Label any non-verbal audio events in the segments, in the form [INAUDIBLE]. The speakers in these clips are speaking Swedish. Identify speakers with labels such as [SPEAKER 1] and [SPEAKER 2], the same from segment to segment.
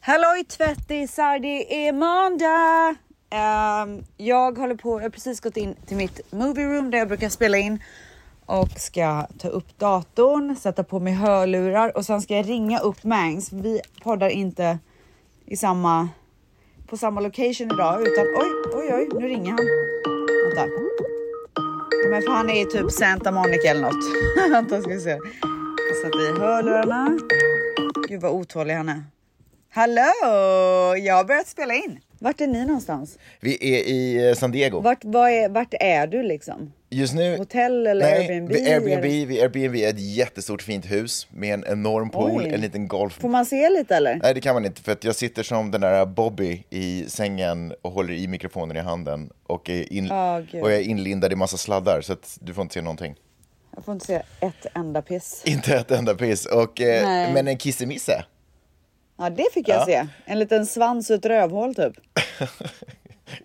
[SPEAKER 1] Halloj tvättisar, det är måndag! Ehm, jag håller på, jag har precis gått in till mitt movie room där jag brukar spela in och ska ta upp datorn, sätta på mig hörlurar och sen ska jag ringa upp Mangs. Vi poddar inte i samma, på samma location idag utan oj, oj, oj, nu ringer han. Vänta. Men för han är ju typ Santa Monica eller något. [LAUGHS] Vänta ska vi se. Jag sätter i hörlurarna. Gud vad otålig han är. Hallå! Jag har börjat spela in. Vart är ni någonstans?
[SPEAKER 2] Vi är i eh, San Diego.
[SPEAKER 1] Vart, vad är, vart är du liksom?
[SPEAKER 2] Just nu...
[SPEAKER 1] Hotell eller
[SPEAKER 2] nej,
[SPEAKER 1] Airbnb?
[SPEAKER 2] Vi Airbnb,
[SPEAKER 1] eller-
[SPEAKER 2] vi Airbnb är ett jättestort fint hus med en enorm pool,
[SPEAKER 1] Oj.
[SPEAKER 2] en liten golf...
[SPEAKER 1] Får man se lite eller?
[SPEAKER 2] Nej, det kan man inte för att jag sitter som den där Bobby i sängen och håller i mikrofonen i handen och, är in...
[SPEAKER 1] Ah, gud.
[SPEAKER 2] och jag är inlindad i massa sladdar så att du får inte se någonting. [LAUGHS]
[SPEAKER 1] Jag får inte se ett enda piss.
[SPEAKER 2] Inte ett enda piss. Och,
[SPEAKER 1] Nej.
[SPEAKER 2] eh, men en kissemisse.
[SPEAKER 1] Ja, det fick jag
[SPEAKER 2] Ja.
[SPEAKER 1] se. En liten svans och ett rövhål typ.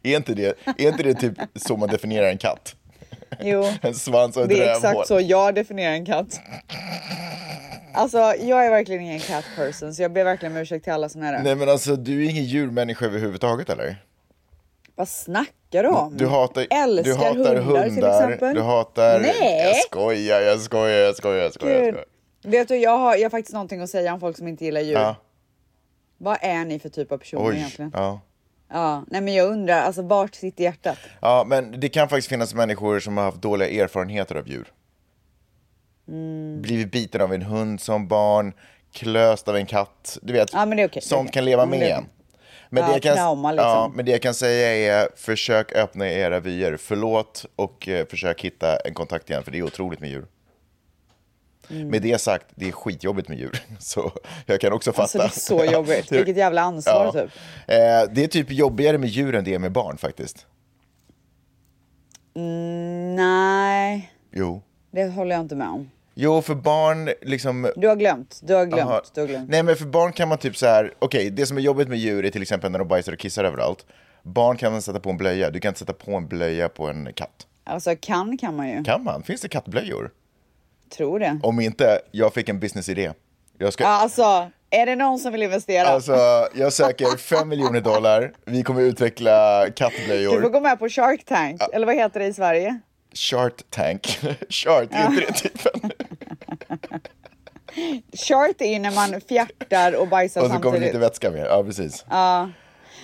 [SPEAKER 2] Är inte, det, är inte det typ så man definierar en katt? [LAUGHS]
[SPEAKER 1] Jo,
[SPEAKER 2] En svans och ett
[SPEAKER 1] det är
[SPEAKER 2] rövhål.
[SPEAKER 1] exakt så jag definierar en katt. Alltså, jag är verkligen ingen cat person så jag ber verkligen om ursäkt till alla som är det.
[SPEAKER 2] Nej men alltså, du är ingen djurmänniska överhuvudtaget eller?
[SPEAKER 1] Vad snackar du om?
[SPEAKER 2] Du hatar,
[SPEAKER 1] Mm. Älskar
[SPEAKER 2] du hatar
[SPEAKER 1] hundar, till exempel.
[SPEAKER 2] Du hatar...
[SPEAKER 1] Nej!
[SPEAKER 2] Jag skojar, jag skojar, jag skojar. Jag skojar, jag
[SPEAKER 1] Gud.
[SPEAKER 2] skojar.
[SPEAKER 1] Vet du, jag har, jag har faktiskt någonting att säga om folk som inte gillar djur.
[SPEAKER 2] Ja,
[SPEAKER 1] Vad är ni för typ av personer
[SPEAKER 2] oj.
[SPEAKER 1] egentligen?
[SPEAKER 2] Ja.
[SPEAKER 1] Ja, nej men jag undrar, alltså vart sitter hjärtat?
[SPEAKER 2] ja, men det kan faktiskt finnas människor som har haft dåliga erfarenheter av djur.
[SPEAKER 1] Mm.
[SPEAKER 2] Blivit biten av en hund som barn, klöst av en katt. Du vet,
[SPEAKER 1] Ja, men det är okej, det är
[SPEAKER 2] sånt
[SPEAKER 1] okej.
[SPEAKER 2] kan leva
[SPEAKER 1] Ja, men
[SPEAKER 2] med
[SPEAKER 1] det är
[SPEAKER 2] en. Men,
[SPEAKER 1] Ja,
[SPEAKER 2] det jag kan,
[SPEAKER 1] Mm. trauma, liksom.
[SPEAKER 2] ja, men det jag kan säga är, försök öppna era vyer, förlåt och eh, försök hitta en kontakt igen, för det är otroligt med djur.
[SPEAKER 1] Mm.
[SPEAKER 2] Med det sagt, det är skitjobbigt med djur. [LAUGHS] Så jag kan också fatta.
[SPEAKER 1] Alltså det är så jobbigt,
[SPEAKER 2] [LAUGHS] Ja.
[SPEAKER 1] vilket jävla ansvar typ.
[SPEAKER 2] Eh, det är typ jobbigare med djur än det är med barn faktiskt.
[SPEAKER 1] Nej,
[SPEAKER 2] Jo.
[SPEAKER 1] det håller jag inte med om.
[SPEAKER 2] Jo, för barn liksom...
[SPEAKER 1] Du har glömt, du har glömt,
[SPEAKER 2] Aha.
[SPEAKER 1] du har glömt.
[SPEAKER 2] Nej, men för barn kan man typ så här... Okej, det som är jobbigt med djur är till exempel när de bajsar och kissar överallt. Barn kan man sätta på en blöja. Du kan inte sätta på en blöja på en katt.
[SPEAKER 1] Alltså kan kan man ju,
[SPEAKER 2] Kan man? Finns det kattblöjor?
[SPEAKER 1] tror det.
[SPEAKER 2] Om inte, jag fick en businessidé. Jag ska...
[SPEAKER 1] Ja, Alltså, är det någon som vill investera?
[SPEAKER 2] Alltså, jag söker 5 miljoner dollar. Vi kommer utveckla
[SPEAKER 1] du får
[SPEAKER 2] kattblöjor.
[SPEAKER 1] gå med på Shark Tank, eller vad heter det i Sverige?
[SPEAKER 2] Shark Tank. [LAUGHS] Shark, är inte
[SPEAKER 1] [LAUGHS]
[SPEAKER 2] det typen?
[SPEAKER 1] Shark är ju när man fjärtar och bajsar
[SPEAKER 2] Och så kommer
[SPEAKER 1] samtidigt.
[SPEAKER 2] lite vätska med. Ja, precis.
[SPEAKER 1] Ja,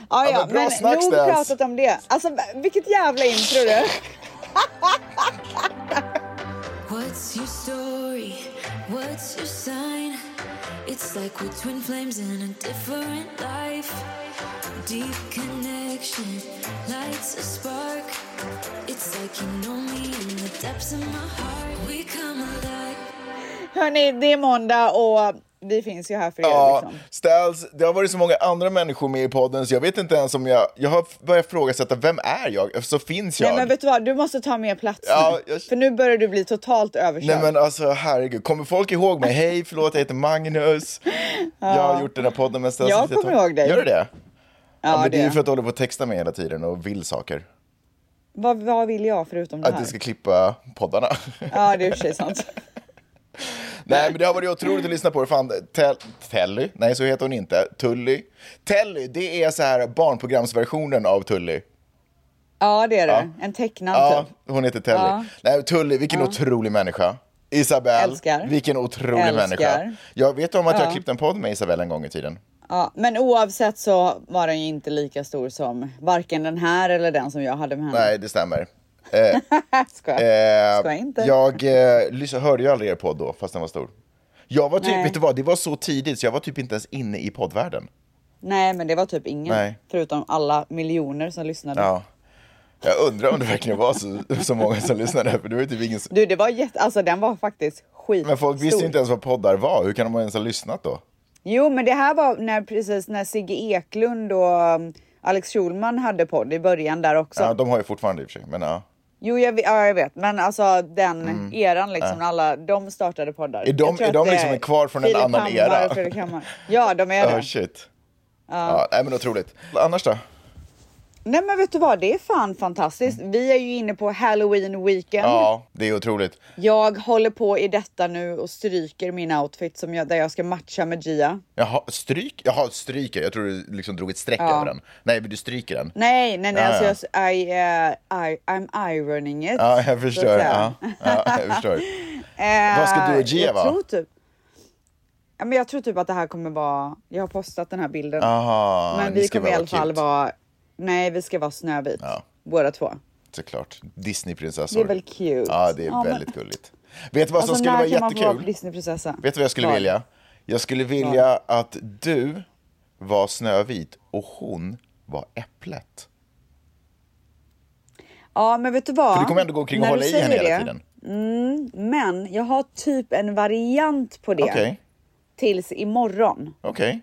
[SPEAKER 1] ja,
[SPEAKER 2] men bra
[SPEAKER 1] men
[SPEAKER 2] snack,
[SPEAKER 1] nog
[SPEAKER 2] Stens.
[SPEAKER 1] pratat om det. Alltså, vilket jävla intro du.
[SPEAKER 3] What's your story? What's your sign? It's like we're twin flames in a different life. Deep connection lights a spark. It's like you know me in the depths of my heart. We come alive.
[SPEAKER 1] Hörni, det är måndag och vi finns ju här för er.
[SPEAKER 2] Ja,
[SPEAKER 1] Liksom.
[SPEAKER 2] Ställs, det har varit så många andra människor med i podden så jag vet inte ens om jag... Jag har börjat frågasätta, vem är jag? Alltså, Så finns jag?
[SPEAKER 1] Nej men vet du vad, du måste ta mer plats
[SPEAKER 2] Ja,
[SPEAKER 1] nu.
[SPEAKER 2] jag-
[SPEAKER 1] För nu börjar du bli totalt överkörd.
[SPEAKER 2] Nej men alltså herregud, kommer folk ihåg mig? Hej, förlåt jag
[SPEAKER 1] [LAUGHS]
[SPEAKER 2] heter Magnus. Jag har gjort den här podden med Ställs.
[SPEAKER 1] Jag
[SPEAKER 2] ett litet
[SPEAKER 1] kommer
[SPEAKER 2] tag.
[SPEAKER 1] ihåg dig.
[SPEAKER 2] Gör du det? Ja,
[SPEAKER 1] ja,
[SPEAKER 2] men det är ju
[SPEAKER 1] det.
[SPEAKER 2] för att du håller på och textar mig hela tiden och vill saker.
[SPEAKER 1] vad, vad vill jag förutom det
[SPEAKER 2] Att
[SPEAKER 1] här?
[SPEAKER 2] du ska klippa poddarna. [LAUGHS]
[SPEAKER 1] Ja, det är i och för sig sant.
[SPEAKER 2] Nej men det har varit otroligt att lyssna på det. Fan, Tell- Telly? Nej så heter hon inte. Tully? Telly, det är så här barnprogramsversionen av Tully.
[SPEAKER 1] Ja, det är det. En tecknad
[SPEAKER 2] Ja,
[SPEAKER 1] typ.
[SPEAKER 2] hon heter Telly.
[SPEAKER 1] Ja.
[SPEAKER 2] Nej, Tully, vilken otrolig människa. Isabelle,
[SPEAKER 1] Älskar.
[SPEAKER 2] vilken otrolig
[SPEAKER 1] Älskar.
[SPEAKER 2] människa. Jag vet om att
[SPEAKER 1] Ja. Mm.
[SPEAKER 2] jag klippte en podd med Isabelle en gång i tiden.
[SPEAKER 1] Ja, men oavsett så var den ju inte lika stor som varken den här eller den som jag hade med henne.
[SPEAKER 2] Nej,
[SPEAKER 1] [LAUGHS]
[SPEAKER 2] det stämmer.
[SPEAKER 1] Skojar.
[SPEAKER 2] Eh,
[SPEAKER 1] Skojar inte.
[SPEAKER 2] Jag eh, lys- hörde ju aldrig er podd då, fast den var stor. Jag var typ,
[SPEAKER 1] Nej.
[SPEAKER 2] vet du vad, det var så tidigt så jag var typ inte ens inne i poddvärlden.
[SPEAKER 1] Nej, men det var typ ingen.
[SPEAKER 2] Nej.
[SPEAKER 1] Förutom alla miljoner som lyssnade.
[SPEAKER 2] Ja. Jag undrar om det verkligen var så, så många som lyssnade, för det var ju typ ingen... s-
[SPEAKER 1] Du, det var jätte... Alltså den var faktiskt skitstor.
[SPEAKER 2] Men folk visste ju inte ens vad poddar var, hur kan de ens ha lyssnat då?
[SPEAKER 1] Jo, men det här var när precis när Sigge Eklund och um, Alex Schulman hade podd i början där också.
[SPEAKER 2] Ja, de har ju fortfarande i och för sig, men ja.
[SPEAKER 1] Jo, jag, ve- ja, jag vet, men alltså den eran liksom när alla de startade poddar.
[SPEAKER 2] de-
[SPEAKER 1] Jag tror
[SPEAKER 2] Mm. är
[SPEAKER 1] att
[SPEAKER 2] de
[SPEAKER 1] det
[SPEAKER 2] liksom en kvar från en
[SPEAKER 1] Filip
[SPEAKER 2] annan
[SPEAKER 1] Hammar
[SPEAKER 2] era?
[SPEAKER 1] och Fredrik Hammar. Ja, de är
[SPEAKER 2] Oh, Ja,
[SPEAKER 1] det.
[SPEAKER 2] shit. Ja. nej men otroligt. Annars då?
[SPEAKER 1] Nej men vet du vad, det är fan fantastiskt. Vi är ju inne på halloween weekend.
[SPEAKER 2] Mm. Ja, det är otroligt.
[SPEAKER 1] Jag håller på i detta nu och stryker min outfit som jag, där jag ska matcha med Gia.
[SPEAKER 2] Jaha, stryk? Jaha, stryker. Jag tror du liksom drog ett streck över den. Nej, men du stryker den.
[SPEAKER 1] Nej, nej, nej.
[SPEAKER 2] Ja,
[SPEAKER 1] alltså
[SPEAKER 2] ja.
[SPEAKER 1] jag, s- I, eh, I, I'm ironing it.
[SPEAKER 2] Ja, jag
[SPEAKER 1] Så
[SPEAKER 2] förstår.
[SPEAKER 1] att säga.
[SPEAKER 2] Ja, ja, jag förstår.
[SPEAKER 1] [LAUGHS] Eh,
[SPEAKER 2] Vad ska du och Gia
[SPEAKER 1] jag
[SPEAKER 2] vara?
[SPEAKER 1] Tror typ, ja, men jag tror typ att det här kommer vara... Jag har postat den här bilden.
[SPEAKER 2] Aha,
[SPEAKER 1] men
[SPEAKER 2] ni
[SPEAKER 1] vi
[SPEAKER 2] ska
[SPEAKER 1] kommer i
[SPEAKER 2] vara
[SPEAKER 1] alla fall
[SPEAKER 2] cute.
[SPEAKER 1] vara... Nej, vi ska vara Snövit.
[SPEAKER 2] Ja. Alltså,
[SPEAKER 1] Båda två.
[SPEAKER 2] Såklart.
[SPEAKER 1] Det
[SPEAKER 2] Disneyprinsessor.
[SPEAKER 1] är väl cute?
[SPEAKER 2] Ja, det är
[SPEAKER 1] men-
[SPEAKER 2] väldigt gulligt. Vet du vad som
[SPEAKER 1] Alltså,
[SPEAKER 2] skulle
[SPEAKER 1] när
[SPEAKER 2] vara
[SPEAKER 1] kan man få vara
[SPEAKER 2] jättekul?
[SPEAKER 1] Disneyprinsessa?
[SPEAKER 2] Vet du vad jag skulle
[SPEAKER 1] Vad?
[SPEAKER 2] vilja? Jag skulle vilja att du var Snövit och hon var Äpplet.
[SPEAKER 1] Ja, men vet du vad?
[SPEAKER 2] För du kommer ändå gå omkring och
[SPEAKER 1] När du
[SPEAKER 2] hålla i
[SPEAKER 1] säger
[SPEAKER 2] henne hela
[SPEAKER 1] det-
[SPEAKER 2] tiden.
[SPEAKER 1] Men jag har typ en variant på det
[SPEAKER 2] Okej,
[SPEAKER 1] tills imorgon.
[SPEAKER 2] okej.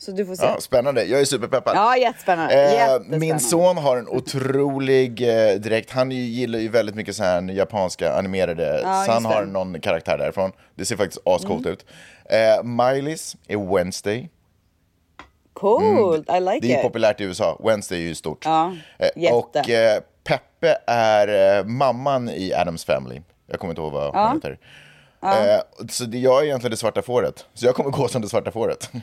[SPEAKER 1] Så du får se.
[SPEAKER 2] Ja, spännande. Jag är superpeppad.
[SPEAKER 1] Ja, jättespännande.
[SPEAKER 2] Eh,
[SPEAKER 1] jättespännande.
[SPEAKER 2] min son har en otrolig eh, dräkt. Han ju, gillar ju väldigt mycket så här japanska animerade.
[SPEAKER 1] Ja,
[SPEAKER 2] så
[SPEAKER 1] just
[SPEAKER 2] han
[SPEAKER 1] det. Mm.
[SPEAKER 2] har någon karaktär därifrån. Det ser faktiskt ascoolt ut. Eh, Miley's är Wednesday.
[SPEAKER 1] Coolt, I like
[SPEAKER 2] Mm, Det är ju
[SPEAKER 1] it.
[SPEAKER 2] populärt i USA. Wednesday är ju stort.
[SPEAKER 1] Ja,
[SPEAKER 2] Eh,
[SPEAKER 1] jätte.
[SPEAKER 2] och eh, Peppe är eh, mamman i Adams Family. Jag kommer inte ihåg vad hon heter. Eh, så det, jag är egentligen det svarta fåret. Så jag kommer gå som det svarta fåret. [LAUGHS]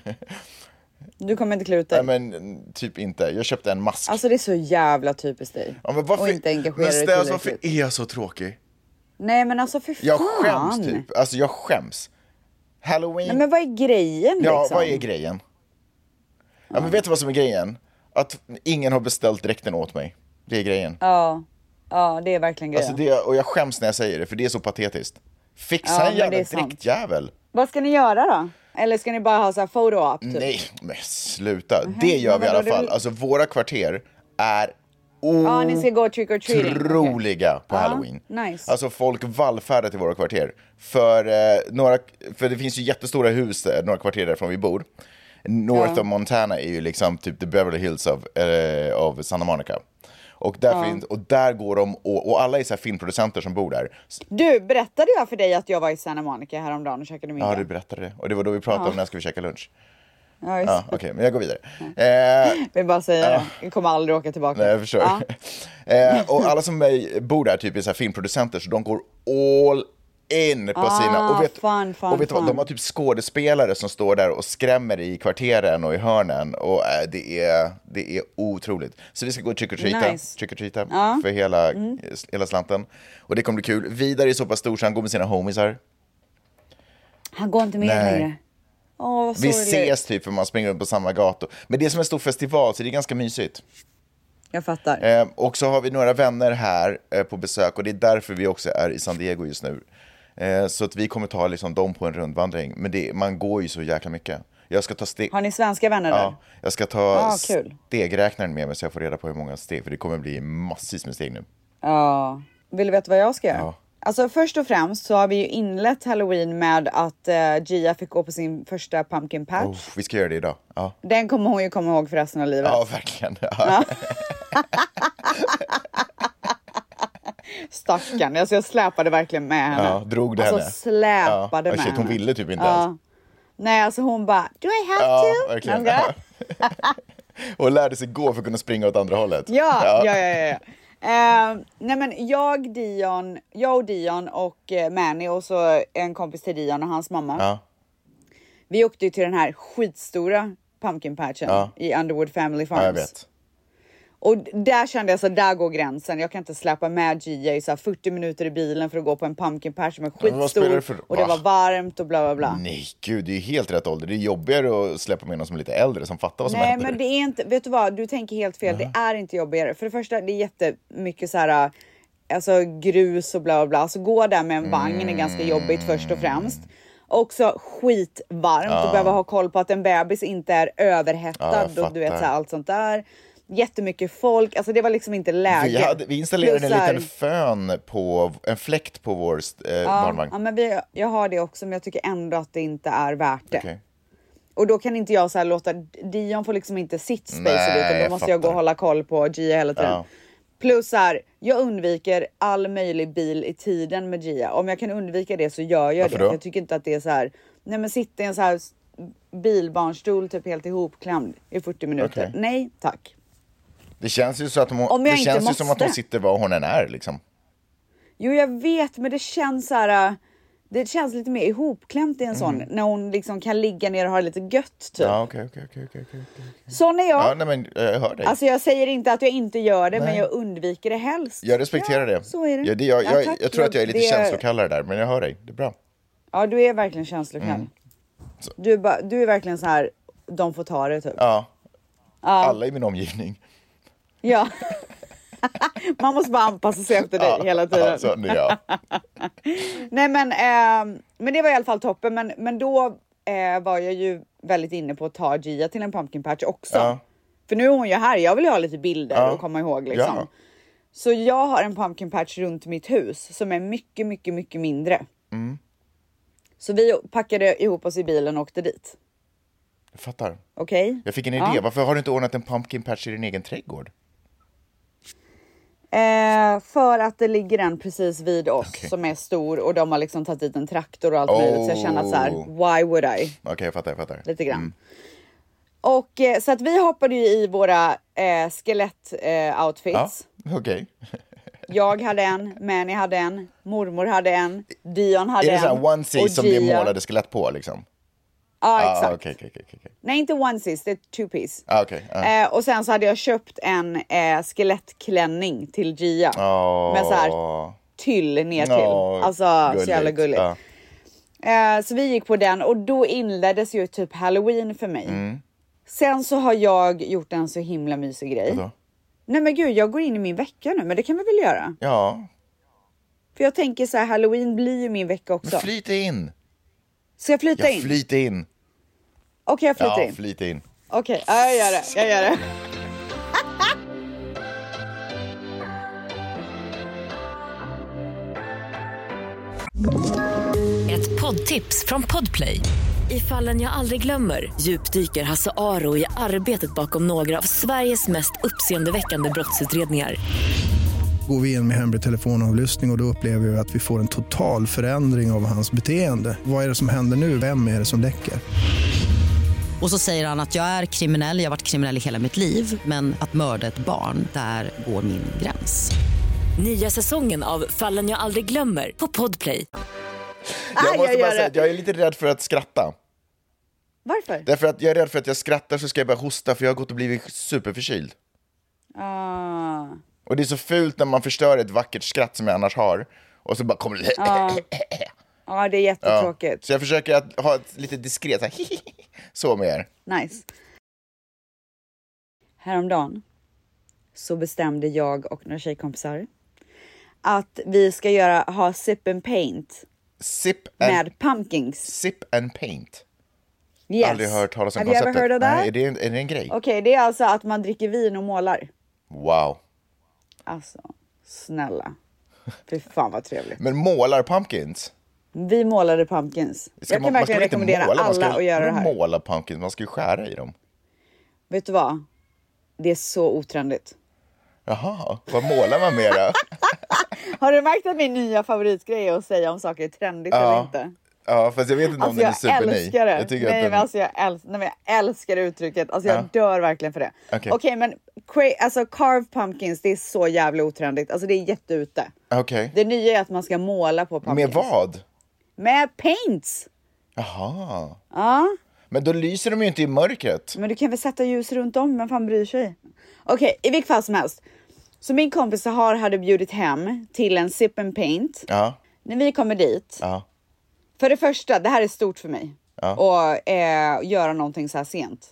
[SPEAKER 1] Du kommer inte klä ut dig.
[SPEAKER 2] Nej men typ inte. Jag köpte en mask.
[SPEAKER 1] Alltså det är så jävla typiskt dig.
[SPEAKER 2] ja, men varför,
[SPEAKER 1] och inte engagera
[SPEAKER 2] men
[SPEAKER 1] dig
[SPEAKER 2] Stas, varför
[SPEAKER 1] tillräckligt.
[SPEAKER 2] är jag så tråkig?
[SPEAKER 1] Nej men alltså för fan.
[SPEAKER 2] Jag skäms typ. Alltså jag skäms. Halloween.
[SPEAKER 1] Nej men vad är grejen
[SPEAKER 2] ja,
[SPEAKER 1] liksom?
[SPEAKER 2] vad är grejen? Ja, men vet du vad som är grejen? Att ingen har beställt dräkten åt mig. Det är grejen.
[SPEAKER 1] Ja. ja, det är verkligen grejen.
[SPEAKER 2] Alltså det, och jag skäms när jag säger det, för det är så patetiskt. Fixa
[SPEAKER 1] Ja,
[SPEAKER 2] en
[SPEAKER 1] men
[SPEAKER 2] jävla
[SPEAKER 1] det är sant.
[SPEAKER 2] dräktjävel.
[SPEAKER 1] Vad ska ni göra då? Eller ska ni bara ha så här photo op? Typ?
[SPEAKER 2] Nej, men sluta. Det gör
[SPEAKER 1] men
[SPEAKER 2] vi i alla
[SPEAKER 1] vadå, det är
[SPEAKER 2] fall.
[SPEAKER 1] väl-
[SPEAKER 2] Alltså våra kvarter är
[SPEAKER 1] Ja, ni ska gå trick or treating.
[SPEAKER 2] otroliga på halloween.
[SPEAKER 1] nice.
[SPEAKER 2] Alltså folk vallfärdar till våra kvarter. För, eh, några, för det finns ju jättestora hus eh, några kvarter därifrån vi bor. North
[SPEAKER 1] Ja.
[SPEAKER 2] of Montana är ju liksom typ the Beverly Hills av, eh, av Santa Monica. Och där, finns, och där går de, och, och alla är så här filmproducenter som bor där.
[SPEAKER 1] Du, berättade jag för dig att jag var i Santa Monica häromdagen och käkade middag?
[SPEAKER 2] Ja, du berättade det. Och det var då vi pratade om när ska vi käka lunch.
[SPEAKER 1] Ja, just.
[SPEAKER 2] Ja, Okej, men jag går vidare. Eh,
[SPEAKER 1] Jag vill bara säga det. Jag kommer aldrig åka tillbaka.
[SPEAKER 2] nej, jag förstår.
[SPEAKER 1] Ja.
[SPEAKER 2] [LAUGHS] Eh, och alla som är- bor där typ är så här filmproducenter, så de går all in på sina... Och vet,
[SPEAKER 1] Ah, fan, fan,
[SPEAKER 2] och vet du vad, de
[SPEAKER 1] fan.
[SPEAKER 2] har typ skådespelare som står där och skrämmer i kvarteren och i hörnen. Och eh, det, är, det är otroligt. Så vi ska gå och trick or treata,
[SPEAKER 1] Nice. Mm.
[SPEAKER 2] trick or treata för hela, hela slanten. Och det kommer bli kul. Vidar är så pass stor så han går med sina homisar.
[SPEAKER 1] Han går inte med
[SPEAKER 2] Nej.
[SPEAKER 1] längre. Åh, vad
[SPEAKER 2] Vi
[SPEAKER 1] sorgligt.
[SPEAKER 2] ses typ för man springer runt på samma gator. Men det är som en stor festival så det är ganska mysigt.
[SPEAKER 1] Jag fattar.
[SPEAKER 2] Eh, och så har vi några vänner här eh, på besök och det är därför vi också är i San Diego just nu. Eh, så att vi kommer ta liksom, dem på en rundvandring. Men det, man går ju så jäkla mycket. Jag ska ta steg...
[SPEAKER 1] Har ni svenska vänner där?
[SPEAKER 2] Ja, jag ska ta
[SPEAKER 1] Ah, kul.
[SPEAKER 2] stegräknaren med mig så jag får reda på hur många steg, för det kommer bli massvis med steg nu.
[SPEAKER 1] Ja. Vill du veta vad jag ska göra?
[SPEAKER 2] Ja.
[SPEAKER 1] Alltså först och främst så har vi ju inlett halloween med att eh, Gia fick gå på sin första pumpkin patch.
[SPEAKER 2] Oh, vi ska göra det idag. Ja,
[SPEAKER 1] Den kommer hon ju komma ihåg för resten av livet.
[SPEAKER 2] ja verkligen. [LAUGHS] Ja.
[SPEAKER 1] Stackarn. Alltså jag släpade verkligen med henne.
[SPEAKER 2] Ja, drog det
[SPEAKER 1] alltså
[SPEAKER 2] henne?
[SPEAKER 1] släpade
[SPEAKER 2] Ja.
[SPEAKER 1] med
[SPEAKER 2] Oh, shit, hon
[SPEAKER 1] henne.
[SPEAKER 2] ville typ inte ens.
[SPEAKER 1] ja. Nej, alltså hon bara, do I have
[SPEAKER 2] Ja,
[SPEAKER 1] to?
[SPEAKER 2] verkligen. [LAUGHS]
[SPEAKER 1] Jag ska-
[SPEAKER 2] och lärde sig gå för att kunna springa åt andra hållet.
[SPEAKER 1] Ja, ja, ja. ja, ja. Eh, nej men jag, Dion, jag och Dion och eh, Manny och så en kompis till Dion och hans mamma.
[SPEAKER 2] Ja.
[SPEAKER 1] Vi åkte ju till den här skitstora pumpkin patchen
[SPEAKER 2] Ja.
[SPEAKER 1] i Underwood Family Farms.
[SPEAKER 2] ja jag vet.
[SPEAKER 1] Och d- där kände jag så där går gränsen. Jag kan inte släppa med Gia i så här 40 minuter i bilen för att gå på en pumpkin patch som är
[SPEAKER 2] men vad spelar
[SPEAKER 1] skitstor
[SPEAKER 2] det för-
[SPEAKER 1] och det
[SPEAKER 2] Va?
[SPEAKER 1] var varmt och bla bla bla.
[SPEAKER 2] Nej, gud, det är ju helt rätt ålder. Det är jobbigare att släppa med någon som är lite äldre som fattar vad som
[SPEAKER 1] Nej,
[SPEAKER 2] händer.
[SPEAKER 1] men det är inte. Vet du vad? Du tänker helt fel. Det är inte jobbigare. För det första, det är jättemycket så här. Alltså grus och bla bla bla. Så gå där med en vagn är ganska
[SPEAKER 2] Mm.
[SPEAKER 1] jobbigt först och främst. Också skitvarmt och behöva ha koll på att en bebis inte är
[SPEAKER 2] Ja,
[SPEAKER 1] överhettad
[SPEAKER 2] jag
[SPEAKER 1] och du vet så
[SPEAKER 2] fattar.
[SPEAKER 1] här, allt sånt där. Jättemycket folk. Alltså det var liksom inte läge.
[SPEAKER 2] Vi, hade, vi installerade
[SPEAKER 1] Plus
[SPEAKER 2] en
[SPEAKER 1] så här-
[SPEAKER 2] liten fön på, en fläkt på vår eh, barnvagn.
[SPEAKER 1] Ja, men vi, jag har det också, men jag tycker ändå att det inte är värt det.
[SPEAKER 2] Okej.
[SPEAKER 1] Och då kan inte jag så här låta Dion får liksom inte sitt space
[SPEAKER 2] Nej,
[SPEAKER 1] Nej, utan
[SPEAKER 2] jag
[SPEAKER 1] då måste jag gå
[SPEAKER 2] fattar.
[SPEAKER 1] och hålla koll på Gia hela tiden.
[SPEAKER 2] Ja.
[SPEAKER 1] Plus så här, jag undviker all möjlig bil i tiden med Gia. Om jag kan undvika det så gör jag
[SPEAKER 2] Varför
[SPEAKER 1] det.
[SPEAKER 2] då?
[SPEAKER 1] Jag tycker inte att det är så här. Nej, men sitta i en så här s- bilbarnstol typ helt ihopklämd i 40 minuter.
[SPEAKER 2] Okej.
[SPEAKER 1] Nej tack.
[SPEAKER 2] Det känns ju, så att hon,
[SPEAKER 1] Om jag
[SPEAKER 2] det
[SPEAKER 1] inte
[SPEAKER 2] känns ju som att hon
[SPEAKER 1] måste.
[SPEAKER 2] sitter var hon än är. Liksom.
[SPEAKER 1] Jo, jag vet, men det känns så här. äh, Det känns lite mer ihopklämt i en sån när hon liksom kan ligga ner och ha det lite gött typ.
[SPEAKER 2] Mm. Ja, okej, okej, okej, okej, okej. okej.
[SPEAKER 1] Sån är jag.
[SPEAKER 2] Ja, nej, men eh, jag hör dig.
[SPEAKER 1] Alltså jag säger inte att jag inte gör det, men
[SPEAKER 2] Nej.
[SPEAKER 1] jag undviker det helst.
[SPEAKER 2] Jag respekterar
[SPEAKER 1] ja,
[SPEAKER 2] det.
[SPEAKER 1] Så är det.
[SPEAKER 2] Ja, det jag,
[SPEAKER 1] Ja,
[SPEAKER 2] jag,
[SPEAKER 1] tack.
[SPEAKER 2] jag tror att jag är lite
[SPEAKER 1] Det-
[SPEAKER 2] känslokallare där, men jag hör dig. Det är bra.
[SPEAKER 1] Ja, du är verkligen känslokall.
[SPEAKER 2] Mm.
[SPEAKER 1] Du, är bara- du är verkligen så här, de får ta det typ.
[SPEAKER 2] Ja. Alla i min omgivning.
[SPEAKER 1] Ja. [LAUGHS] Man måste bara anpassa sig efter dig
[SPEAKER 2] Ja,
[SPEAKER 1] hela tiden. [LAUGHS]
[SPEAKER 2] Ja, så, nu, ja.
[SPEAKER 1] Nej men, eh, men det var i alla fall toppen. Men, men då eh, var jag ju väldigt inne på att ta Gia till en pumpkin patch också.
[SPEAKER 2] Ja.
[SPEAKER 1] För nu är hon ju här. Jag vill ju ha lite bilder
[SPEAKER 2] Ja.
[SPEAKER 1] och komma ihåg liksom.
[SPEAKER 2] Ja.
[SPEAKER 1] Så jag har en pumpkin patch runt mitt hus som är mycket, mycket, mycket mindre.
[SPEAKER 2] Mm.
[SPEAKER 1] Så vi packade ihop oss i bilen och åkte dit.
[SPEAKER 2] Jag fattar.
[SPEAKER 1] Okej?
[SPEAKER 2] Jag fick en idé.
[SPEAKER 1] Ja.
[SPEAKER 2] Varför har du inte ordnat en pumpkin patch i din egen trädgård?
[SPEAKER 1] Eh, för att det ligger en precis vid oss
[SPEAKER 2] Okej.
[SPEAKER 1] som är stor och de har liksom tagit dit en traktor och allt möjligt. Så jag känner att så här,
[SPEAKER 2] Oh. Mm.
[SPEAKER 1] why would I?
[SPEAKER 2] Okej, jag fattar. Jag fattar.
[SPEAKER 1] lite grann. Och eh, så att vi hoppade ju i våra eh, skelett eh,
[SPEAKER 2] Ja,
[SPEAKER 1] outfits.
[SPEAKER 2] okej.
[SPEAKER 1] Jag hade en, Manny hade en, mormor hade en, Dion hade
[SPEAKER 2] Är det
[SPEAKER 1] en.
[SPEAKER 2] så här onesie
[SPEAKER 1] och
[SPEAKER 2] som det är
[SPEAKER 1] Gia-
[SPEAKER 2] målade skelett på liksom?
[SPEAKER 1] Ja, exakt.
[SPEAKER 2] okej, okej, okej, okej.
[SPEAKER 1] Nej, inte onesies, det är two piece.
[SPEAKER 2] Ah, okej, ja.
[SPEAKER 1] Eh, och sen så hade jag köpt en eh, skelettklänning till Gia.
[SPEAKER 2] Åh.
[SPEAKER 1] Med Eh, så här tyll ner till.
[SPEAKER 2] Ah. Ja,
[SPEAKER 1] alltså så jävla
[SPEAKER 2] Ah. gulligt. Ah.
[SPEAKER 1] gulligt.
[SPEAKER 2] Ja.
[SPEAKER 1] Eh, så vi gick på den och då inleddes ju typ halloween för mig.
[SPEAKER 2] Mm.
[SPEAKER 1] Sen så har jag gjort en så himla mysig grej.
[SPEAKER 2] Vadå?
[SPEAKER 1] Nej men gud, jag går in i min vecka nu, men det kan vi väl göra?
[SPEAKER 2] Ja,
[SPEAKER 1] För jag tänker så här, halloween blir ju min vecka också.
[SPEAKER 2] men flyt in.
[SPEAKER 1] Ska jag flytta
[SPEAKER 2] Ja,
[SPEAKER 1] in?
[SPEAKER 2] flyt in.
[SPEAKER 1] Okej, jag flyter
[SPEAKER 2] Ja,
[SPEAKER 1] in.
[SPEAKER 2] flyt in.
[SPEAKER 1] Okej, ja, jag gör det. Jag gör
[SPEAKER 2] [LAUGHS]
[SPEAKER 1] det.
[SPEAKER 4] Ett poddtips från Podplay. I fallen jag aldrig glömmer djupdyker Hasse Aro i arbetet bakom några av Sveriges mest uppseendeväckande brottsutredningar.
[SPEAKER 5] Går vi in med hemlig telefonavlyssning och, och då upplever vi att vi får en total förändring av hans beteende. Vad är det som händer nu? Vem är det som läcker?
[SPEAKER 6] Och så säger han att jag är kriminell, jag har varit kriminell i hela mitt liv men att mörda ett barn, där går min gräns.
[SPEAKER 4] Nya säsongen av Fallen jag aldrig glömmer på Podplay.
[SPEAKER 1] Ah, jag
[SPEAKER 2] Jag måste bara
[SPEAKER 1] gör
[SPEAKER 2] säga
[SPEAKER 1] det.
[SPEAKER 2] att jag är lite rädd för att skratta.
[SPEAKER 1] Varför?
[SPEAKER 2] Därför att jag är rädd för att jag skrattar så ska jag börja hosta för jag har gått och blivit superförkyld.
[SPEAKER 1] Ah.
[SPEAKER 2] Och det är så fult när man förstör ett vackert skratt som jag annars har. Och så bara kommer det...
[SPEAKER 1] Ah. Ja, det är jättetråkigt.
[SPEAKER 2] Så jag försöker att ha ett lite diskret så, här, [LAUGHS] så med er.
[SPEAKER 1] Nice. Häromdagen så bestämde jag och några tjejkompisar att vi ska göra, ha sip and paint
[SPEAKER 2] Sip and,
[SPEAKER 1] med pumpkins.
[SPEAKER 2] sip and paint.
[SPEAKER 1] Yes.
[SPEAKER 2] Aldrig hört talas om
[SPEAKER 1] Have you
[SPEAKER 2] konceptet.
[SPEAKER 1] ever heard of that?
[SPEAKER 2] Nej, är, det en, är det en grej?
[SPEAKER 1] Okej, det är alltså att man dricker vin och målar.
[SPEAKER 2] Wow.
[SPEAKER 1] Alltså, snälla. Fy fan vad trevligt.
[SPEAKER 2] Men målar pumpkins?
[SPEAKER 1] Vi målade pumpkins.
[SPEAKER 2] Ska
[SPEAKER 1] jag kan
[SPEAKER 2] man
[SPEAKER 1] verkligen
[SPEAKER 2] ska väl inte
[SPEAKER 1] rekommendera
[SPEAKER 2] måla, man
[SPEAKER 1] alla
[SPEAKER 2] ska
[SPEAKER 1] att göra det
[SPEAKER 2] man
[SPEAKER 1] här.
[SPEAKER 2] måla pumpkins, man ska ju skära i dem.
[SPEAKER 1] Vet du vad? Det är så otrendigt.
[SPEAKER 2] Jaha, vad målar man med då? [LAUGHS]
[SPEAKER 1] Har du märkt att min nya favoritgrej är att säga om saker är trendigt eller inte?
[SPEAKER 2] Ja, fast jag vet inte om
[SPEAKER 1] Alltså
[SPEAKER 2] den är
[SPEAKER 1] jag
[SPEAKER 2] superny.
[SPEAKER 1] älskar det.
[SPEAKER 2] Jag tycker
[SPEAKER 1] nej,
[SPEAKER 2] att den...
[SPEAKER 1] men alltså jag älsk- nej men jag älskar uttrycket. Alltså jag
[SPEAKER 2] Ja.
[SPEAKER 1] dör verkligen för det.
[SPEAKER 2] Okej.
[SPEAKER 1] men cra- alltså carve pumpkins det är så jävla otrendigt. Alltså det är jätteute.
[SPEAKER 2] Okej.
[SPEAKER 1] Det nya är att man ska måla på pumpkins.
[SPEAKER 2] Med vad?
[SPEAKER 1] Med paints!
[SPEAKER 2] Jaha.
[SPEAKER 1] Ja.
[SPEAKER 2] Men då lyser de ju inte i mörkret.
[SPEAKER 1] Men du kan väl sätta ljus runt om, vem fan bryr sig? Okej, i vilket fall som helst. Så min kompis Sahar hade bjudit hem till en sip and paint.
[SPEAKER 2] Ja,
[SPEAKER 1] När vi kommer dit,
[SPEAKER 2] ja,
[SPEAKER 1] för det första, det här är stort för mig. Och eh, göra någonting så här sent.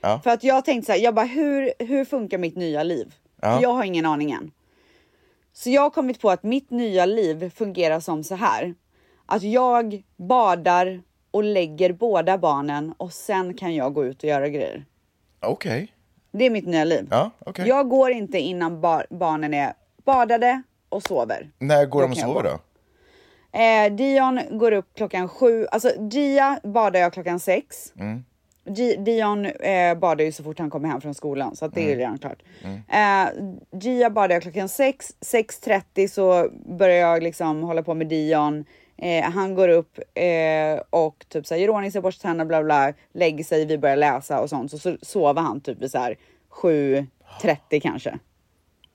[SPEAKER 2] Ja.
[SPEAKER 1] För att jag tänkte så här, jag bara hur, hur funkar mitt nya liv? För jag har ingen aning än. Så jag har kommit på att mitt nya liv fungerar som så här. Att jag badar och lägger båda barnen och sen kan jag gå ut och göra grejer.
[SPEAKER 2] okej.
[SPEAKER 1] Det är mitt nya liv.
[SPEAKER 2] Ja, okej.
[SPEAKER 1] Jag går inte innan bar- barnen är badade och sover.
[SPEAKER 2] När går
[SPEAKER 1] Då
[SPEAKER 2] de och
[SPEAKER 1] kan jag
[SPEAKER 2] sover
[SPEAKER 1] gå.
[SPEAKER 2] då?
[SPEAKER 1] Eh, Dion går upp klockan sju. Alltså Gia badar jag klockan sex. Gi- Dion eh, badar ju så fort han kommer hem från skolan så att det är ju redan klart. Eh, Gia badar jag klockan sex. 6.30 så börjar jag liksom hålla på med Dion. Eh, han går upp eh, och typ så här, gör ordning sig, borstar tänderna, bla bla, lägger sig, vi börjar läsa och sånt. Så, så sover han typ vid så här sju, 30 kanske.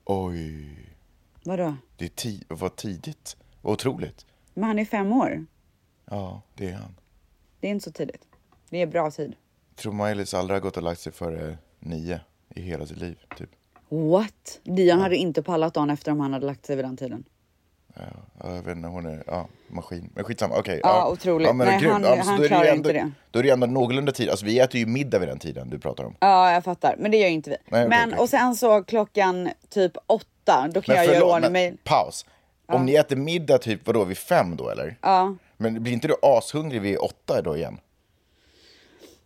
[SPEAKER 2] Oj,
[SPEAKER 1] Vadå?
[SPEAKER 2] det är ti- vad tidigt. Vad otroligt.
[SPEAKER 1] Men han är fem år.
[SPEAKER 2] Ja, det är han.
[SPEAKER 1] Det är inte så tidigt. Det är bra tid.
[SPEAKER 2] Tror Maj-Lis aldrig har gått och lagt sig före nio i hela sitt liv, typ.
[SPEAKER 1] What? Dion hade inte pallat dagen efter om han hade lagt sig vid den tiden.
[SPEAKER 2] Ja, jag vet inte, hon är, ja, maskin. Men skitsamma, okej.
[SPEAKER 1] Ja, otroligt. Nej,
[SPEAKER 2] grymt.
[SPEAKER 1] han-
[SPEAKER 2] Ja, men så
[SPEAKER 1] han
[SPEAKER 2] då är ju
[SPEAKER 1] klarar
[SPEAKER 2] ändå,
[SPEAKER 1] inte det.
[SPEAKER 2] Då är det ju ändå någorlunda tid. Alltså vi äter ju middag vid den tiden du pratar om.
[SPEAKER 1] Ja, jag fattar. Men det gör ju inte vi.
[SPEAKER 2] okej,
[SPEAKER 1] men
[SPEAKER 2] okej.
[SPEAKER 1] och sen så klockan typ åtta, då kan jag göra i ordning mig.
[SPEAKER 2] paus. Om ni äter middag typ, vadå, vid fem då eller?
[SPEAKER 1] Ja.
[SPEAKER 2] Men blir inte du ashungrig vid åtta då igen?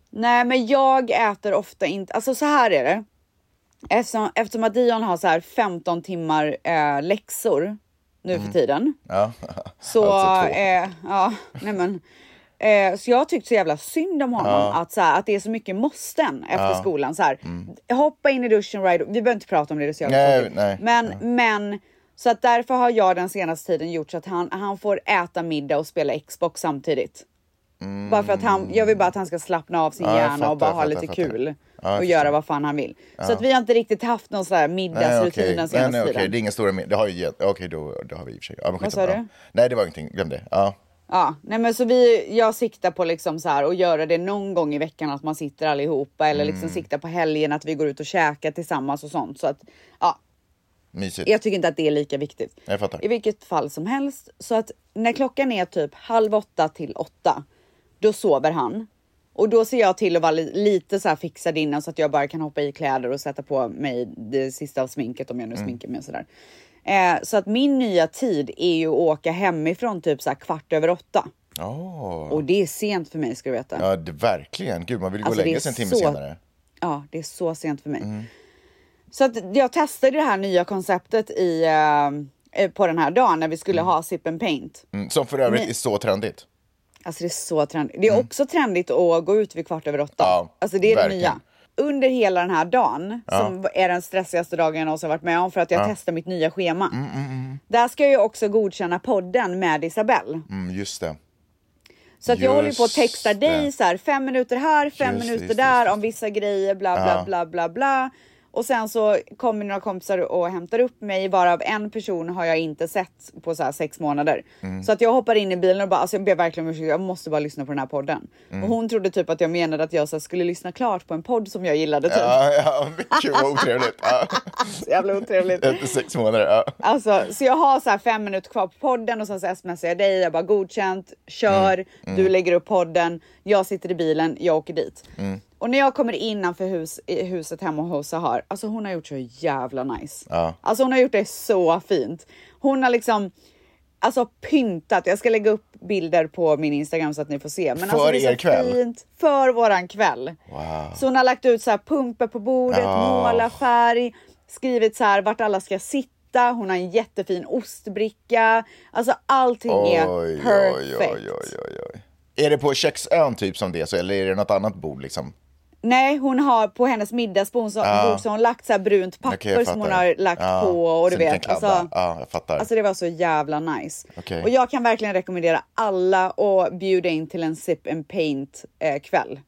[SPEAKER 1] Nej, men jag äter ofta inte. Alltså så här är det. Eftersom, eftersom att Dion har så här 15 timmar eh, läxor nu
[SPEAKER 2] Mm.
[SPEAKER 1] för tiden.
[SPEAKER 2] Ja. [LAUGHS]
[SPEAKER 1] Så,
[SPEAKER 2] Alltså två.
[SPEAKER 1] eh, ja, nej men. Eh, så jag har tyckt så jävla synd om honom att, så här, att det är så mycket måsten efter skolan. Så här, Hoppa in i duschen, right, vi behöver inte prata om det, det är så jävla
[SPEAKER 2] Mm. Nej,
[SPEAKER 1] tråkigt.
[SPEAKER 2] nej.
[SPEAKER 1] Men, men så att därför har jag den senaste tiden gjort så att han, han får äta middag och spela Xbox samtidigt. Bara för att han, jag vill bara att han ska slappna av sin
[SPEAKER 2] Mm. Ja, jag
[SPEAKER 1] hjärna
[SPEAKER 2] fattar,
[SPEAKER 1] och bara
[SPEAKER 2] jag
[SPEAKER 1] ha
[SPEAKER 2] fattar,
[SPEAKER 1] lite
[SPEAKER 2] jag fattar.
[SPEAKER 1] kul
[SPEAKER 2] Ja, jag
[SPEAKER 1] och
[SPEAKER 2] förstår.
[SPEAKER 1] göra vad fan han vill. Så att vi har inte riktigt haft någon sån här middagsrutin
[SPEAKER 2] okej.
[SPEAKER 1] den
[SPEAKER 2] nej,
[SPEAKER 1] senaste
[SPEAKER 2] nej, okej.
[SPEAKER 1] tiden.
[SPEAKER 2] Det är inga stora middag. Det har ju gett. Okej, då, då har vi i och för sig. Ja, men
[SPEAKER 1] Vad sa
[SPEAKER 2] skitsamma.
[SPEAKER 1] du?
[SPEAKER 2] Nej, det var ingenting. Glöm det. Ja.
[SPEAKER 1] Ja, nej men så vi, jag siktar på liksom så här och göra det någon gång i veckan att man sitter allihopa eller liksom
[SPEAKER 2] Mm.
[SPEAKER 1] siktar på helgen att vi går ut och käkar tillsammans och sånt. Så att ja,
[SPEAKER 2] Mysigt.
[SPEAKER 1] jag tycker inte att det är lika viktigt.
[SPEAKER 2] Jag fattar.
[SPEAKER 1] I vilket fall som helst så att när klockan är typ halv åtta till åtta, då sover han och då ser jag till att vara li- lite så här fixad innan så att jag bara kan hoppa i kläder och sätta på mig det sista av sminket om jag nu
[SPEAKER 2] Mm.
[SPEAKER 1] sminkar mig och sådär. Eh, så att min nya tid är ju att åka hemifrån typ så här kvart över åtta.
[SPEAKER 2] Åh.
[SPEAKER 1] Och det är sent för mig ska du veta. Ja,
[SPEAKER 2] Ja, det, verkligen. Gud, man vill gå
[SPEAKER 1] Alltså,
[SPEAKER 2] och
[SPEAKER 1] det
[SPEAKER 2] lägga
[SPEAKER 1] är
[SPEAKER 2] sig en timme
[SPEAKER 1] så-
[SPEAKER 2] senare. Mm.
[SPEAKER 1] det är så sent för mig. Så att jag testade det här nya konceptet i, eh, eh, på den här dagen när vi skulle ha sip and paint.
[SPEAKER 2] Mm, som för övrigt är så trendigt.
[SPEAKER 1] Alltså det är så trendigt. Det är också trendigt att gå ut vid kvart över åtta.
[SPEAKER 2] Mm. Ja,
[SPEAKER 1] alltså det är
[SPEAKER 2] verkligen.
[SPEAKER 1] det nya. Under hela den här dagen, som är den stressigaste dagen jag någonsin varit med om för att jag testar mitt nya schema.
[SPEAKER 2] Mm,
[SPEAKER 1] Där ska jag ju också godkänna podden med Isabelle.
[SPEAKER 2] Mm, just det.
[SPEAKER 1] Så att jag håller på att
[SPEAKER 2] Just
[SPEAKER 1] texta dig
[SPEAKER 2] det.
[SPEAKER 1] så här, fem minuter här, fem
[SPEAKER 2] Just det,
[SPEAKER 1] minuter
[SPEAKER 2] just det,
[SPEAKER 1] där
[SPEAKER 2] just det.
[SPEAKER 1] om vissa grejer, bla bla bla bla bla. Och sen så kommer några kompisar och hämtar upp mig, varav en person har jag inte sett på så här sex månader.
[SPEAKER 2] Mm.
[SPEAKER 1] Så att jag hoppar in i bilen och bara, alltså jag ber verkligen om ursäkt, jag måste bara lyssna på den här podden.
[SPEAKER 2] Mm.
[SPEAKER 1] Och hon trodde typ att jag menade att jag så här, skulle lyssna klart på en podd som jag gillade typ.
[SPEAKER 2] Ja, ja, [LAUGHS] men gud vad otrevligt. Ja.
[SPEAKER 1] Så jävla otrevligt.
[SPEAKER 2] Efter sex månader. Ja.
[SPEAKER 1] Alltså, så jag har så här fem minuter kvar på podden och sen så smsar jag dig. Jag bara godkänt, kör,
[SPEAKER 2] Mm,
[SPEAKER 1] du lägger upp podden. Jag sitter i bilen, jag åker dit.
[SPEAKER 2] Mm.
[SPEAKER 1] Och när jag kommer innanför hus, i huset hemma hos Sahar, alltså hon har gjort så jävla nice.
[SPEAKER 2] Ja.
[SPEAKER 1] Alltså hon har gjort det så fint. Hon har liksom alltså pyntat. Jag ska lägga upp bilder på min Instagram så att ni får se. Men
[SPEAKER 2] För
[SPEAKER 1] alltså, det är så
[SPEAKER 2] er kväll?
[SPEAKER 1] Fint för våran kväll.
[SPEAKER 2] Wow.
[SPEAKER 1] Så hon har lagt ut så här pumper på bordet,
[SPEAKER 2] Ah.
[SPEAKER 1] måla färg, skrivit så här vart alla ska sitta. Hon har en jättefin ostbricka. Alltså allting är
[SPEAKER 2] Oj, oj,
[SPEAKER 1] perfekt.
[SPEAKER 2] oj, oj, oj, oj. Är det på Kexön typ som det är så, eller är det något annat bord liksom?
[SPEAKER 1] Nej, hon har på hennes middagsbord så,
[SPEAKER 2] Ah.
[SPEAKER 1] bord så har hon lagt så här brunt papper
[SPEAKER 2] Okej, jag
[SPEAKER 1] som hon
[SPEAKER 2] fattar.
[SPEAKER 1] har lagt
[SPEAKER 2] Ja,
[SPEAKER 1] på och du
[SPEAKER 2] så ni kan
[SPEAKER 1] vet.
[SPEAKER 2] kladda.
[SPEAKER 1] Alltså,
[SPEAKER 2] ja, jag fattar.
[SPEAKER 1] Alltså det var så jävla nice.
[SPEAKER 2] Okej.
[SPEAKER 1] Och jag kan verkligen rekommendera alla att bjuda in till en sip and paint eh, kväll.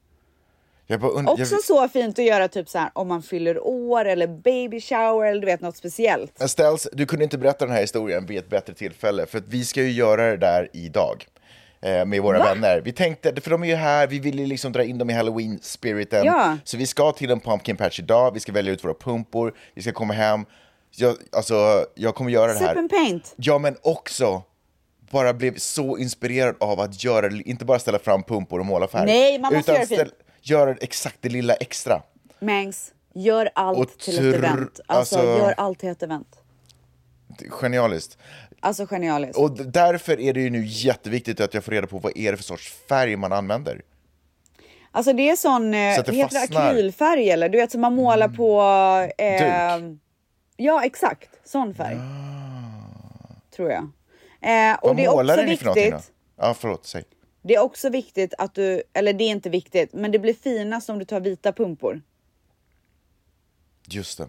[SPEAKER 2] jag bara und-
[SPEAKER 1] Också så fint att göra typ så här om man fyller år eller baby shower eller du vet något speciellt.
[SPEAKER 2] jag, Ställs, du kunde inte berätta den här historien vid ett bättre tillfälle, för att vi ska ju göra det där idag. eh, Med våra vänner. Vi tänkte, för de är ju här, vi vill ju liksom dra in dem i halloween-spiriten.
[SPEAKER 1] Ja.
[SPEAKER 2] Så vi ska till en pumpkin patch idag, vi ska välja ut våra pumpor, vi ska komma hem. Jag, alltså, jag kommer göra det här.
[SPEAKER 1] Sip and paint.
[SPEAKER 2] Ja, men också bara blev så inspirerad av att göra, inte bara ställa fram pumpor och måla färg.
[SPEAKER 1] Nej, man måste göra det
[SPEAKER 2] ställ-
[SPEAKER 1] fint.
[SPEAKER 2] göra exakt det lilla extra.
[SPEAKER 1] Mangs, gör allt
[SPEAKER 2] Och
[SPEAKER 1] till
[SPEAKER 2] tr-
[SPEAKER 1] ett event. Alltså,
[SPEAKER 2] alltså-
[SPEAKER 1] gör allt till ett event.
[SPEAKER 2] Det är Genialiskt.
[SPEAKER 1] Alltså genialiskt.
[SPEAKER 2] Och d- därför är det ju nu jätteviktigt att jag får reda på vad är det för sorts färg man använder.
[SPEAKER 1] Alltså det är sån, eh,
[SPEAKER 2] Så att det
[SPEAKER 1] heter det
[SPEAKER 2] fastnar. Mm.
[SPEAKER 1] akrylfärg eller? Du vet som man målar på... Eh,
[SPEAKER 2] Duk.
[SPEAKER 1] Ja exakt, sån färg. Tror jag. Eh, och
[SPEAKER 2] Ah. Vad
[SPEAKER 1] det är
[SPEAKER 2] målar
[SPEAKER 1] också
[SPEAKER 2] ni för någonting då?
[SPEAKER 1] viktigt.
[SPEAKER 2] Ja, förlåt, säg.
[SPEAKER 1] Det är också viktigt att du, eller det är inte viktigt, men det blir finast om du tar vita pumpor.
[SPEAKER 2] Just det.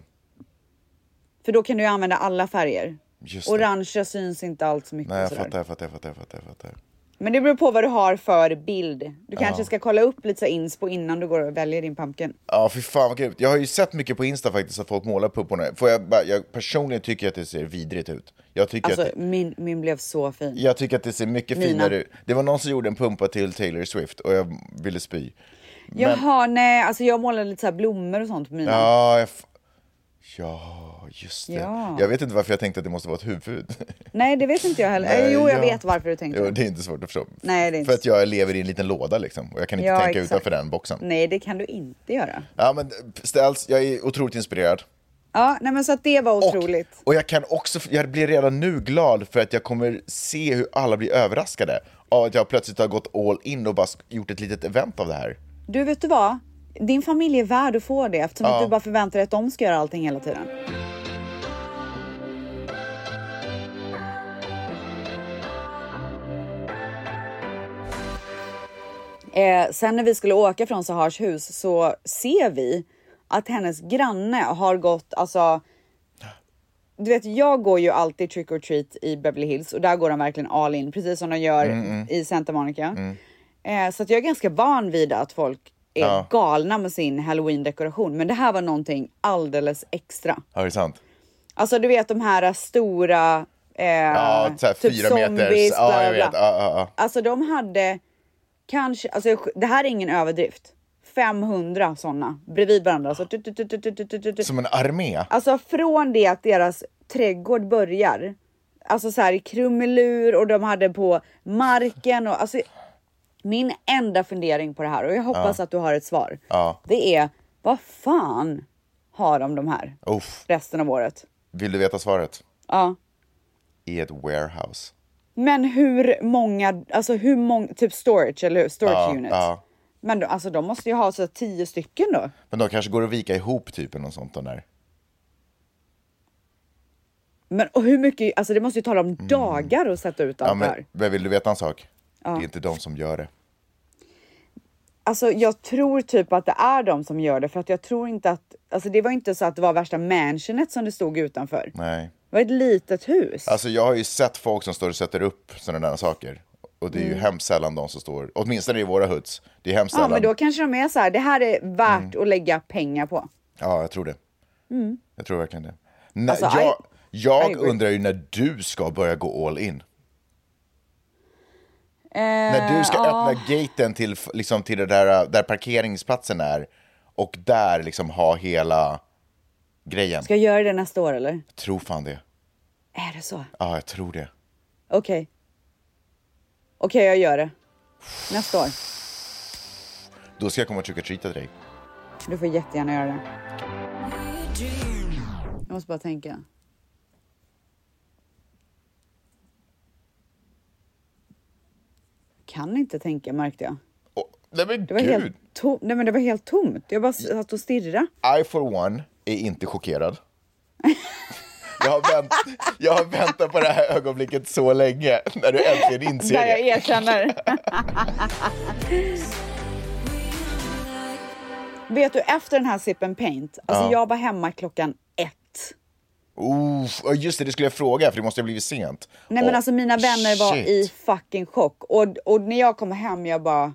[SPEAKER 1] För då kan du ju använda alla färger.
[SPEAKER 2] Just det.
[SPEAKER 1] Orangea syns inte allt så mycket.
[SPEAKER 2] Nej,
[SPEAKER 1] och
[SPEAKER 2] jag
[SPEAKER 1] sådär.
[SPEAKER 2] fattar, jag fattar, jag fattar, jag fattar, jag fattar.
[SPEAKER 1] Men det beror på vad du har för bild. Du kanske ska kolla upp lite så här inspo innan du går och väljer din pumpkin.
[SPEAKER 2] Ja, fy fan vad grymt. Jag har ju sett mycket på Insta faktiskt att folk målar pupporna. Får jag, bara- jag personligen tycker jag att det ser vidrigt ut. Jag tycker,
[SPEAKER 1] Alltså
[SPEAKER 2] att, det,
[SPEAKER 1] min, min blev så fin.
[SPEAKER 2] jag tycker att det ser mycket
[SPEAKER 1] Mina.
[SPEAKER 2] finare ut. Det var någon som gjorde en pumpa till Taylor Swift och jag ville spy.
[SPEAKER 1] Jaha, nej, alltså jag målade lite så här blommor och sånt på mina.
[SPEAKER 2] Ja, jag f- ja just det.
[SPEAKER 1] Ja.
[SPEAKER 2] Jag vet inte varför jag tänkte att det måste vara ett huvud. [LAUGHS]
[SPEAKER 1] Nej, det vet inte jag heller.
[SPEAKER 2] Nej,
[SPEAKER 1] Eh, jo, jag
[SPEAKER 2] ja.
[SPEAKER 1] vet varför du tänkte.
[SPEAKER 2] Jo, det är inte svårt att förstå.
[SPEAKER 1] Mm. Nej, det är inte
[SPEAKER 2] För att jag lever i en liten låda liksom, och jag kan inte
[SPEAKER 1] Ja,
[SPEAKER 2] tänka
[SPEAKER 1] exakt.
[SPEAKER 2] utanför den boxen.
[SPEAKER 1] Nej, det kan du inte göra.
[SPEAKER 2] Ja, men ställs, jag är otroligt inspirerad.
[SPEAKER 1] Ja, nej, men så att det var otroligt.
[SPEAKER 2] Och, och jag kan också, jag blir redan nu glad för att jag kommer se hur alla blir överraskade av att jag plötsligt har gått all in och bara sk- gjort ett litet event av det här.
[SPEAKER 1] Du, vet du vad? Din familj är värd att få det eftersom att du bara förväntar dig att de ska göra allting hela tiden. Eh, sen när vi skulle åka från Sahars hus så ser vi att hennes granne har gått, alltså. Du vet, jag går ju alltid trick or treat i Beverly Hills och där går de verkligen all in, precis som de gör
[SPEAKER 2] Mm,
[SPEAKER 1] i Santa Monica. Eh, så att jag är ganska van vid att folk är galna med sin halloween-dekoration. Men det här var någonting alldeles extra.
[SPEAKER 2] Ja, det är sant.
[SPEAKER 1] Alltså, du vet de här stora. Eh, typ
[SPEAKER 2] Ja, så här, fyra meters. Ja, jag vet. Ja, ja, ja.
[SPEAKER 1] Alltså de hade kanske, alltså det här är ingen överdrift. 500 sådana bredvid varandra. Så, tut, tut, tut, tut, tut, tut, tut.
[SPEAKER 2] Som en armé.
[SPEAKER 1] Alltså från det att deras trädgård börjar, alltså så här i krumelur och de hade på marken och alltså min enda fundering på det här och jag hoppas att du har ett svar.
[SPEAKER 2] Ja.
[SPEAKER 1] Det är vad fan har de de här
[SPEAKER 2] Uff.
[SPEAKER 1] resten av året?
[SPEAKER 2] Vill du veta svaret?
[SPEAKER 1] Ja,
[SPEAKER 2] I ett warehouse.
[SPEAKER 1] men hur många, alltså hur många, typ storage eller hur? Storage unit.
[SPEAKER 2] ja.
[SPEAKER 1] Men då, alltså de måste ju ha så tio stycken då.
[SPEAKER 2] Men de kanske går att vika ihop typ eller något sånt. de Där.
[SPEAKER 1] Men och hur mycket, alltså det måste ju tala om dagar att sätta ut allt
[SPEAKER 2] Mm. Ja,
[SPEAKER 1] det här.
[SPEAKER 2] men, men vill du veta en sak? Det är inte de som gör det.
[SPEAKER 1] Alltså jag tror typ att det är de som gör det för att jag tror inte att, alltså det var inte så att det var värsta mansionet som det stod utanför.
[SPEAKER 2] Nej.
[SPEAKER 1] Det var ett litet hus.
[SPEAKER 2] Alltså jag har ju sett folk som står och sätter upp sådana där saker. Och det är ju hemskt sällan de som står, åtminstone i våra huds. Det är hemskt
[SPEAKER 1] Mm. ja
[SPEAKER 2] sällan.
[SPEAKER 1] men då kanske de är så här, det här är värt
[SPEAKER 2] Mm.
[SPEAKER 1] att lägga pengar på.
[SPEAKER 2] Ja, jag tror det. Jag tror verkligen det. Nej,
[SPEAKER 1] Mm. Alltså, I-
[SPEAKER 2] jag jag
[SPEAKER 1] I agree.
[SPEAKER 2] undrar ju när du ska börja gå all in.
[SPEAKER 1] Eh,
[SPEAKER 2] När du ska
[SPEAKER 1] ja.
[SPEAKER 2] öppna gaten till, f- liksom, till det där, där parkeringsplatsen är och där liksom ha hela grejen.
[SPEAKER 1] Ska jag göra det nästa år eller?
[SPEAKER 2] Jag tror fan det.
[SPEAKER 1] Är det så?
[SPEAKER 2] Ja, jag tror det.
[SPEAKER 1] Okej. Okej jag gör det. Nästa år.
[SPEAKER 2] Då ska jag komma och trycka treata till dig.
[SPEAKER 1] Du får jättegärna göra det. Jag måste bara tänka. Kan inte tänka märkte jag.
[SPEAKER 2] Åh, nej men
[SPEAKER 1] Det var,
[SPEAKER 2] gud!
[SPEAKER 1] helt tom- Nej, men det var helt tomt. Jag bara satt och stirrade.
[SPEAKER 2] I for one är inte chockerad. Jag har, vänt, jag har väntat på det här ögonblicket så länge, när du äntligen inser
[SPEAKER 1] Där jag
[SPEAKER 2] det.
[SPEAKER 1] erkänner. [LAUGHS] Vet du, efter den här sippen paint, alltså jag var hemma klockan ett.
[SPEAKER 2] Oof, ja, just det, det skulle jag fråga, för det måste ha blivit sent.
[SPEAKER 1] Nej men
[SPEAKER 2] Åh,
[SPEAKER 1] alltså mina vänner var
[SPEAKER 2] shit.
[SPEAKER 1] i fucking chock. Och, och när jag kom hem jag bara...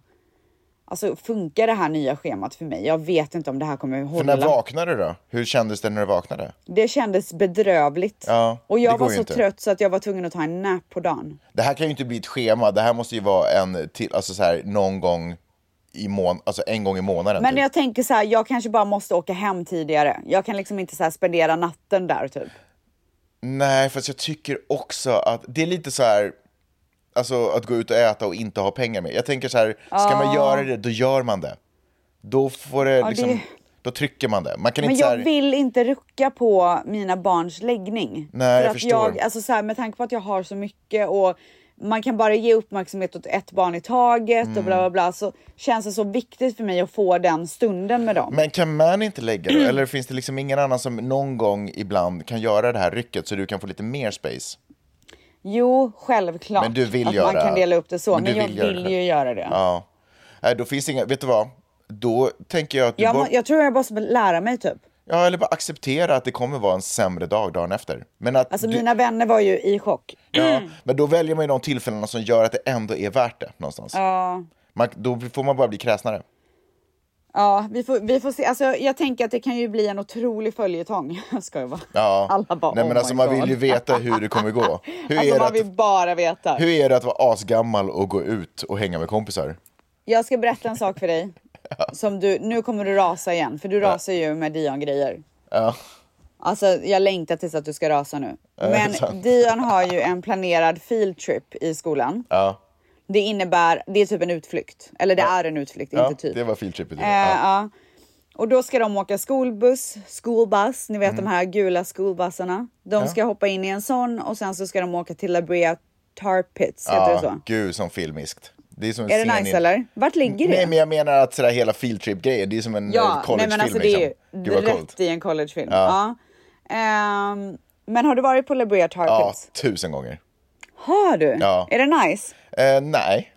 [SPEAKER 1] Alltså funkar det här nya schemat för mig? Jag vet inte om det här kommer
[SPEAKER 2] För när
[SPEAKER 1] hålla.
[SPEAKER 2] vaknade du då? Hur kändes det när du vaknade?
[SPEAKER 1] Det kändes bedrövligt.
[SPEAKER 2] Ja,
[SPEAKER 1] och
[SPEAKER 2] det
[SPEAKER 1] jag
[SPEAKER 2] går
[SPEAKER 1] var
[SPEAKER 2] ju
[SPEAKER 1] så
[SPEAKER 2] inte.
[SPEAKER 1] trött så att jag var tvungen att ta en nap på dagen.
[SPEAKER 2] Det här kan ju inte bli ett schema, det här måste ju vara en till, alltså så här, någon gång i mån, alltså en gång i månaden.
[SPEAKER 1] Men
[SPEAKER 2] typ.
[SPEAKER 1] jag tänker så här, jag kanske bara måste åka hem tidigare. Jag kan liksom inte så här spendera natten där typ.
[SPEAKER 2] Nej, fast jag tycker också att det är lite så här, alltså att gå ut och äta och inte ha pengar med. Jag tänker så här, ska man göra det, då gör man det. Då får det liksom,
[SPEAKER 1] det-
[SPEAKER 2] då trycker man det. Man kan
[SPEAKER 1] Men
[SPEAKER 2] inte så
[SPEAKER 1] jag
[SPEAKER 2] här,
[SPEAKER 1] vill inte rucka på mina barns läggning.
[SPEAKER 2] Nej, jag
[SPEAKER 1] för att
[SPEAKER 2] förstår.
[SPEAKER 1] Jag, alltså så här, med tanke på att jag har så mycket och man kan bara ge uppmärksamhet åt ett barn i taget
[SPEAKER 2] Mm.
[SPEAKER 1] och bla bla bla så känns det så viktigt för mig att få den stunden med dem.
[SPEAKER 2] men kan man inte lägga
[SPEAKER 1] [CLEARS THROAT]
[SPEAKER 2] det? Eller finns det liksom ingen annan som någon gång ibland kan göra det här rycket så du kan få lite mer space?
[SPEAKER 1] Jo, självklart
[SPEAKER 2] Men du vill
[SPEAKER 1] att
[SPEAKER 2] göra
[SPEAKER 1] man kan dela upp det så, men,
[SPEAKER 2] Men du
[SPEAKER 1] jag
[SPEAKER 2] vill
[SPEAKER 1] vill,
[SPEAKER 2] göra det.
[SPEAKER 1] ju göra det.
[SPEAKER 2] Ja. Nej, då finns inga, vet du vad? Då tänker jag att du
[SPEAKER 1] Jag,
[SPEAKER 2] bara...
[SPEAKER 1] må- jag tror jag måste lära mig typ.
[SPEAKER 2] Ja, eller bara acceptera att det kommer vara en sämre dag dagen efter. Men att
[SPEAKER 1] Alltså
[SPEAKER 2] du,
[SPEAKER 1] mina vänner var ju i chock.
[SPEAKER 2] ja,
[SPEAKER 1] Mm.
[SPEAKER 2] men då väljer man ju de tillfällena som gör att det ändå är värt det någonstans.
[SPEAKER 1] Ja,
[SPEAKER 2] Man, då får man bara bli kräsnare.
[SPEAKER 1] ja vi, får, vi får se. Alltså, jag tänker att det kan ju bli en otrolig följetong. [LAUGHS] Ska jag vara.
[SPEAKER 2] Ja.
[SPEAKER 1] Alla bara,
[SPEAKER 2] Nej, men
[SPEAKER 1] oh
[SPEAKER 2] alltså,
[SPEAKER 1] my
[SPEAKER 2] man
[SPEAKER 1] God.
[SPEAKER 2] vill ju veta hur det
[SPEAKER 1] [LAUGHS]
[SPEAKER 2] kommer gå. Hur,
[SPEAKER 1] Alltså
[SPEAKER 2] är det
[SPEAKER 1] man
[SPEAKER 2] att,
[SPEAKER 1] vill bara veta.
[SPEAKER 2] hur är det att vara asgammal och gå ut och hänga med kompisar?
[SPEAKER 1] Jag ska berätta en sak för
[SPEAKER 2] [LAUGHS]
[SPEAKER 1] dig. Som du, nu kommer du rasa igen, för du rasar ju med Dion-grejer.
[SPEAKER 2] Ja.
[SPEAKER 1] Alltså, jag längtar tills att du ska rasa nu. Men
[SPEAKER 2] sant.
[SPEAKER 1] Dion har ju en planerad field trip i skolan.
[SPEAKER 2] Ja,
[SPEAKER 1] Det innebär, det är typ en utflykt. Eller det är en utflykt,
[SPEAKER 2] ja
[SPEAKER 1] inte typ.
[SPEAKER 2] det var filtrippet.
[SPEAKER 1] Eh, ja. Och då ska de åka skolbuss, skolbuss, ni vet
[SPEAKER 2] Mm.
[SPEAKER 1] de här gula skolbussarna. De ska hoppa in i en sån och sen så ska de åka till La Brea Tar Pits, heter det så?
[SPEAKER 2] Gud, som filmiskt. Det är, som en
[SPEAKER 1] Är det
[SPEAKER 2] scen
[SPEAKER 1] nice
[SPEAKER 2] i-
[SPEAKER 1] eller? Vart ligger det?
[SPEAKER 2] Nej, men jag menar att sådär hela fieldtrip-grejen, det är som en ja, collegefilm.
[SPEAKER 1] alltså, det är
[SPEAKER 2] liksom.
[SPEAKER 1] ju
[SPEAKER 2] Gud, vad coolt.
[SPEAKER 1] rätt i en collegefilm. Ja. Ehm, men har du varit på La Brea Tar
[SPEAKER 2] Ja,
[SPEAKER 1] Pits?
[SPEAKER 2] tusen gånger.
[SPEAKER 1] Har du?
[SPEAKER 2] Ja.
[SPEAKER 1] Är det nice?
[SPEAKER 2] Eh, nej.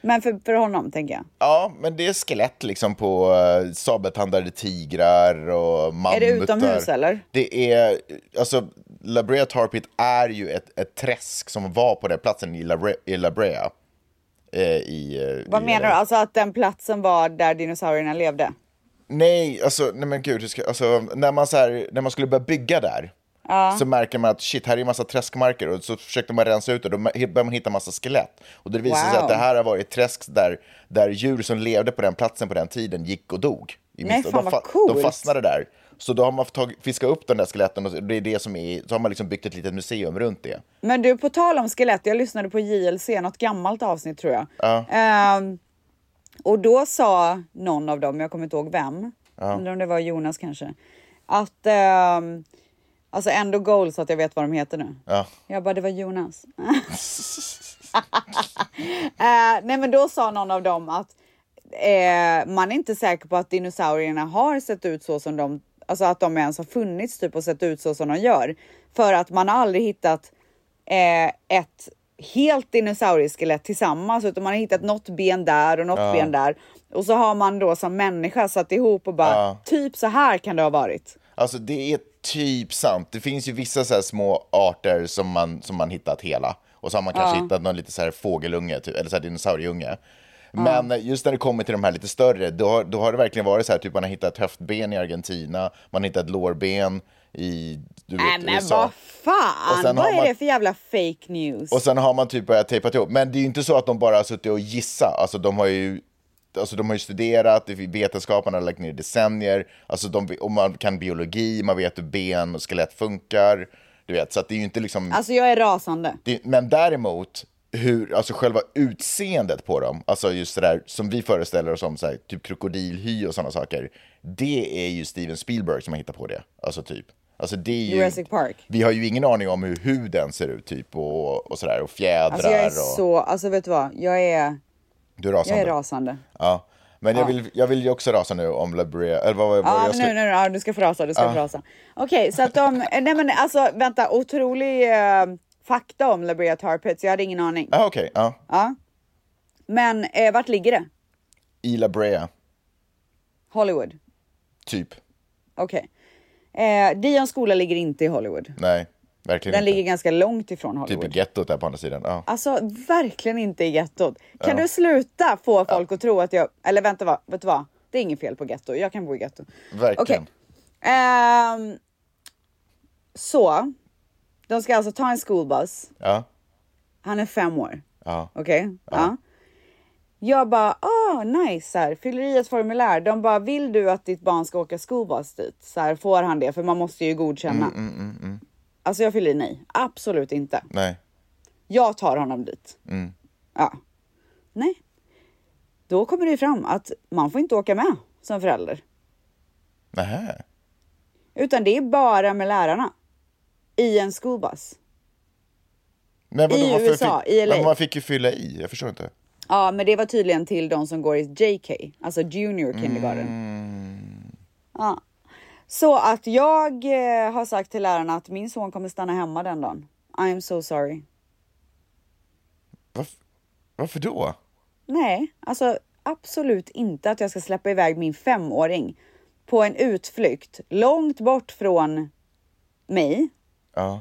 [SPEAKER 1] Men för, för honom tänker jag.
[SPEAKER 2] Ja, men det är skelett liksom på eh, sabeltandade tigrar och mammutar.
[SPEAKER 1] utomhus, eller?
[SPEAKER 2] Det är, alltså, La Brea Tar Pit är ju ett, ett träsk som var på den platsen i La Brea. I La Brea. Eh, i, eh,
[SPEAKER 1] Vad
[SPEAKER 2] i,
[SPEAKER 1] menar du? Alltså att den platsen var där dinosaurierna levde?
[SPEAKER 2] Nej, alltså, nej men gud, hur ska, alltså, när, man så här, när man skulle börja bygga där så märker man att shit, här är en massa träskmarker och så försökte man rensa ut det då började man hitta massa skelett. Och det visade sig
[SPEAKER 1] Wow.
[SPEAKER 2] att det här har varit träsk där, där djur som levde på den platsen på den tiden gick och dog. I
[SPEAKER 1] Nej,
[SPEAKER 2] minst-
[SPEAKER 1] fan,
[SPEAKER 2] de,
[SPEAKER 1] vad coolt.
[SPEAKER 2] de fastnade där. Så då har man tagit, fiskat upp de där skeletten och det är det som är, så har man liksom byggt ett litet museum runt det.
[SPEAKER 1] Men du, på tal om skelett, jag lyssnade på JLC, något gammalt avsnitt tror jag. Ehm, och då sa någon av dem, jag kommer inte ihåg vem, undrar om det var Jonas kanske, att ehm, Alltså ändå goal så att jag vet vad de heter nu.
[SPEAKER 2] Ja.
[SPEAKER 1] Jag bara, det var Jonas.
[SPEAKER 2] [LAUGHS]
[SPEAKER 1] Eh, nej men då sa någon av dem att eh, man är inte säker på att dinosaurierna har sett ut så som de, alltså att de ens har funnits typ och sett ut så som de gör. För att man har aldrig hittat eh, ett helt dinosaurieskelett tillsammans utan man har hittat något ben där och något ben där. Och så har man då som människa satt ihop och bara typ så här kan det ha varit.
[SPEAKER 2] Alltså det är typ sant. Det finns ju vissa så här små arter som man, som man hittat hela. Och så har man kanske hittat någon lite så här fågelunge, typ, eller så här dinosaurieunge. Men eh, just när det kommer till de här lite större, då, har- då har det verkligen varit så här, typ man har hittat höftben i Argentina, man har hittat lårben i du
[SPEAKER 1] Nej
[SPEAKER 2] vet,
[SPEAKER 1] men
[SPEAKER 2] USA.
[SPEAKER 1] vad
[SPEAKER 2] Och sen
[SPEAKER 1] fan, vad
[SPEAKER 2] har
[SPEAKER 1] är
[SPEAKER 2] man-
[SPEAKER 1] det för jävla fake news?
[SPEAKER 2] Och sen har man typ börjat tejpa ihop. Men det är ju inte så att de bara har suttit och gissat. Alltså de har ju, alltså, de har ju studerat, vetenskapen har lagt ner decennier. Alltså de, och man kan biologi, man vet hur ben och skelett funkar. Du vet, så att det är ju inte liksom...
[SPEAKER 1] Alltså jag är rasande.
[SPEAKER 2] det, men däremot, hur, alltså själva utseendet på dem, alltså just det där som vi föreställer oss om, så här, typ krokodilhy och sådana saker. Det är ju Steven Spielberg som har hittat på det. Alltså typ. Alltså det är ju,
[SPEAKER 1] Jurassic Park.
[SPEAKER 2] Vi har ju ingen aning om hur huden ser ut typ och, och sådär och fjädrar
[SPEAKER 1] Alltså jag är
[SPEAKER 2] och...
[SPEAKER 1] så, alltså vet du vad, jag är,
[SPEAKER 2] Du är
[SPEAKER 1] jag
[SPEAKER 2] rasande.
[SPEAKER 1] är rasande.
[SPEAKER 2] Ja. Men jag vill, jag vill ju också rasa nu om La Brea, eller vad var
[SPEAKER 1] Ja,
[SPEAKER 2] jag
[SPEAKER 1] men nu, nu,
[SPEAKER 2] skulle...
[SPEAKER 1] nu, ja, du ska få rasa, du ska få rasa. Okej, så att de, [LAUGHS] eh, nej men alltså vänta, otrolig eh, fakta om La Brea Tar Pits, jag hade ingen aning.
[SPEAKER 2] Ah, okej. Ja.
[SPEAKER 1] Men eh, vart ligger det?
[SPEAKER 2] I La Brea,
[SPEAKER 1] Hollywood.
[SPEAKER 2] typ.
[SPEAKER 1] Okej. Eh, Dions skola ligger inte i Hollywood.
[SPEAKER 2] Nej, verkligen
[SPEAKER 1] Den
[SPEAKER 2] inte.
[SPEAKER 1] ligger ganska långt ifrån
[SPEAKER 2] Typ i
[SPEAKER 1] Hollywood.
[SPEAKER 2] gettot där på andra sidan. Ja.
[SPEAKER 1] Alltså verkligen inte i gettot. Kan du sluta få folk att tro att jag, eller vänta vad, vet du vad? Det är inget fel på getto, jag kan bo i getto.
[SPEAKER 2] Verkligen.
[SPEAKER 1] Okej. Ehm, så, de ska alltså ta en skolbuss.
[SPEAKER 2] Ja.
[SPEAKER 1] Han är fem år.
[SPEAKER 2] Ja.
[SPEAKER 1] Okej? Ja. Jag bara, ah nice, så här, fyller i ett formulär. De bara, vill du att ditt barn ska åka skolbuss dit? Så här, får han det? För man måste ju godkänna. Alltså jag fyller i nej, absolut inte.
[SPEAKER 2] Nej.
[SPEAKER 1] Jag tar honom dit. Ja. Nej. Då kommer det ju fram att man får inte åka med som förälder.
[SPEAKER 2] Nähä.
[SPEAKER 1] Utan det är bara med lärarna. I en skolbuss.
[SPEAKER 2] Men vadå,
[SPEAKER 1] I
[SPEAKER 2] varför
[SPEAKER 1] USA,
[SPEAKER 2] fick,
[SPEAKER 1] i LA.
[SPEAKER 2] Men man fick ju fylla i, jag förstår inte.
[SPEAKER 1] Ja, men det var tydligen till de som går i JK, alltså junior kindergarten. Ja. Så att jag eh, har sagt till lärarna att min son kommer stanna hemma den dagen. I am so sorry.
[SPEAKER 2] Varför, varför då?
[SPEAKER 1] Nej, alltså absolut inte att jag ska släppa iväg min femåring på en utflykt långt bort från mig
[SPEAKER 2] Ja.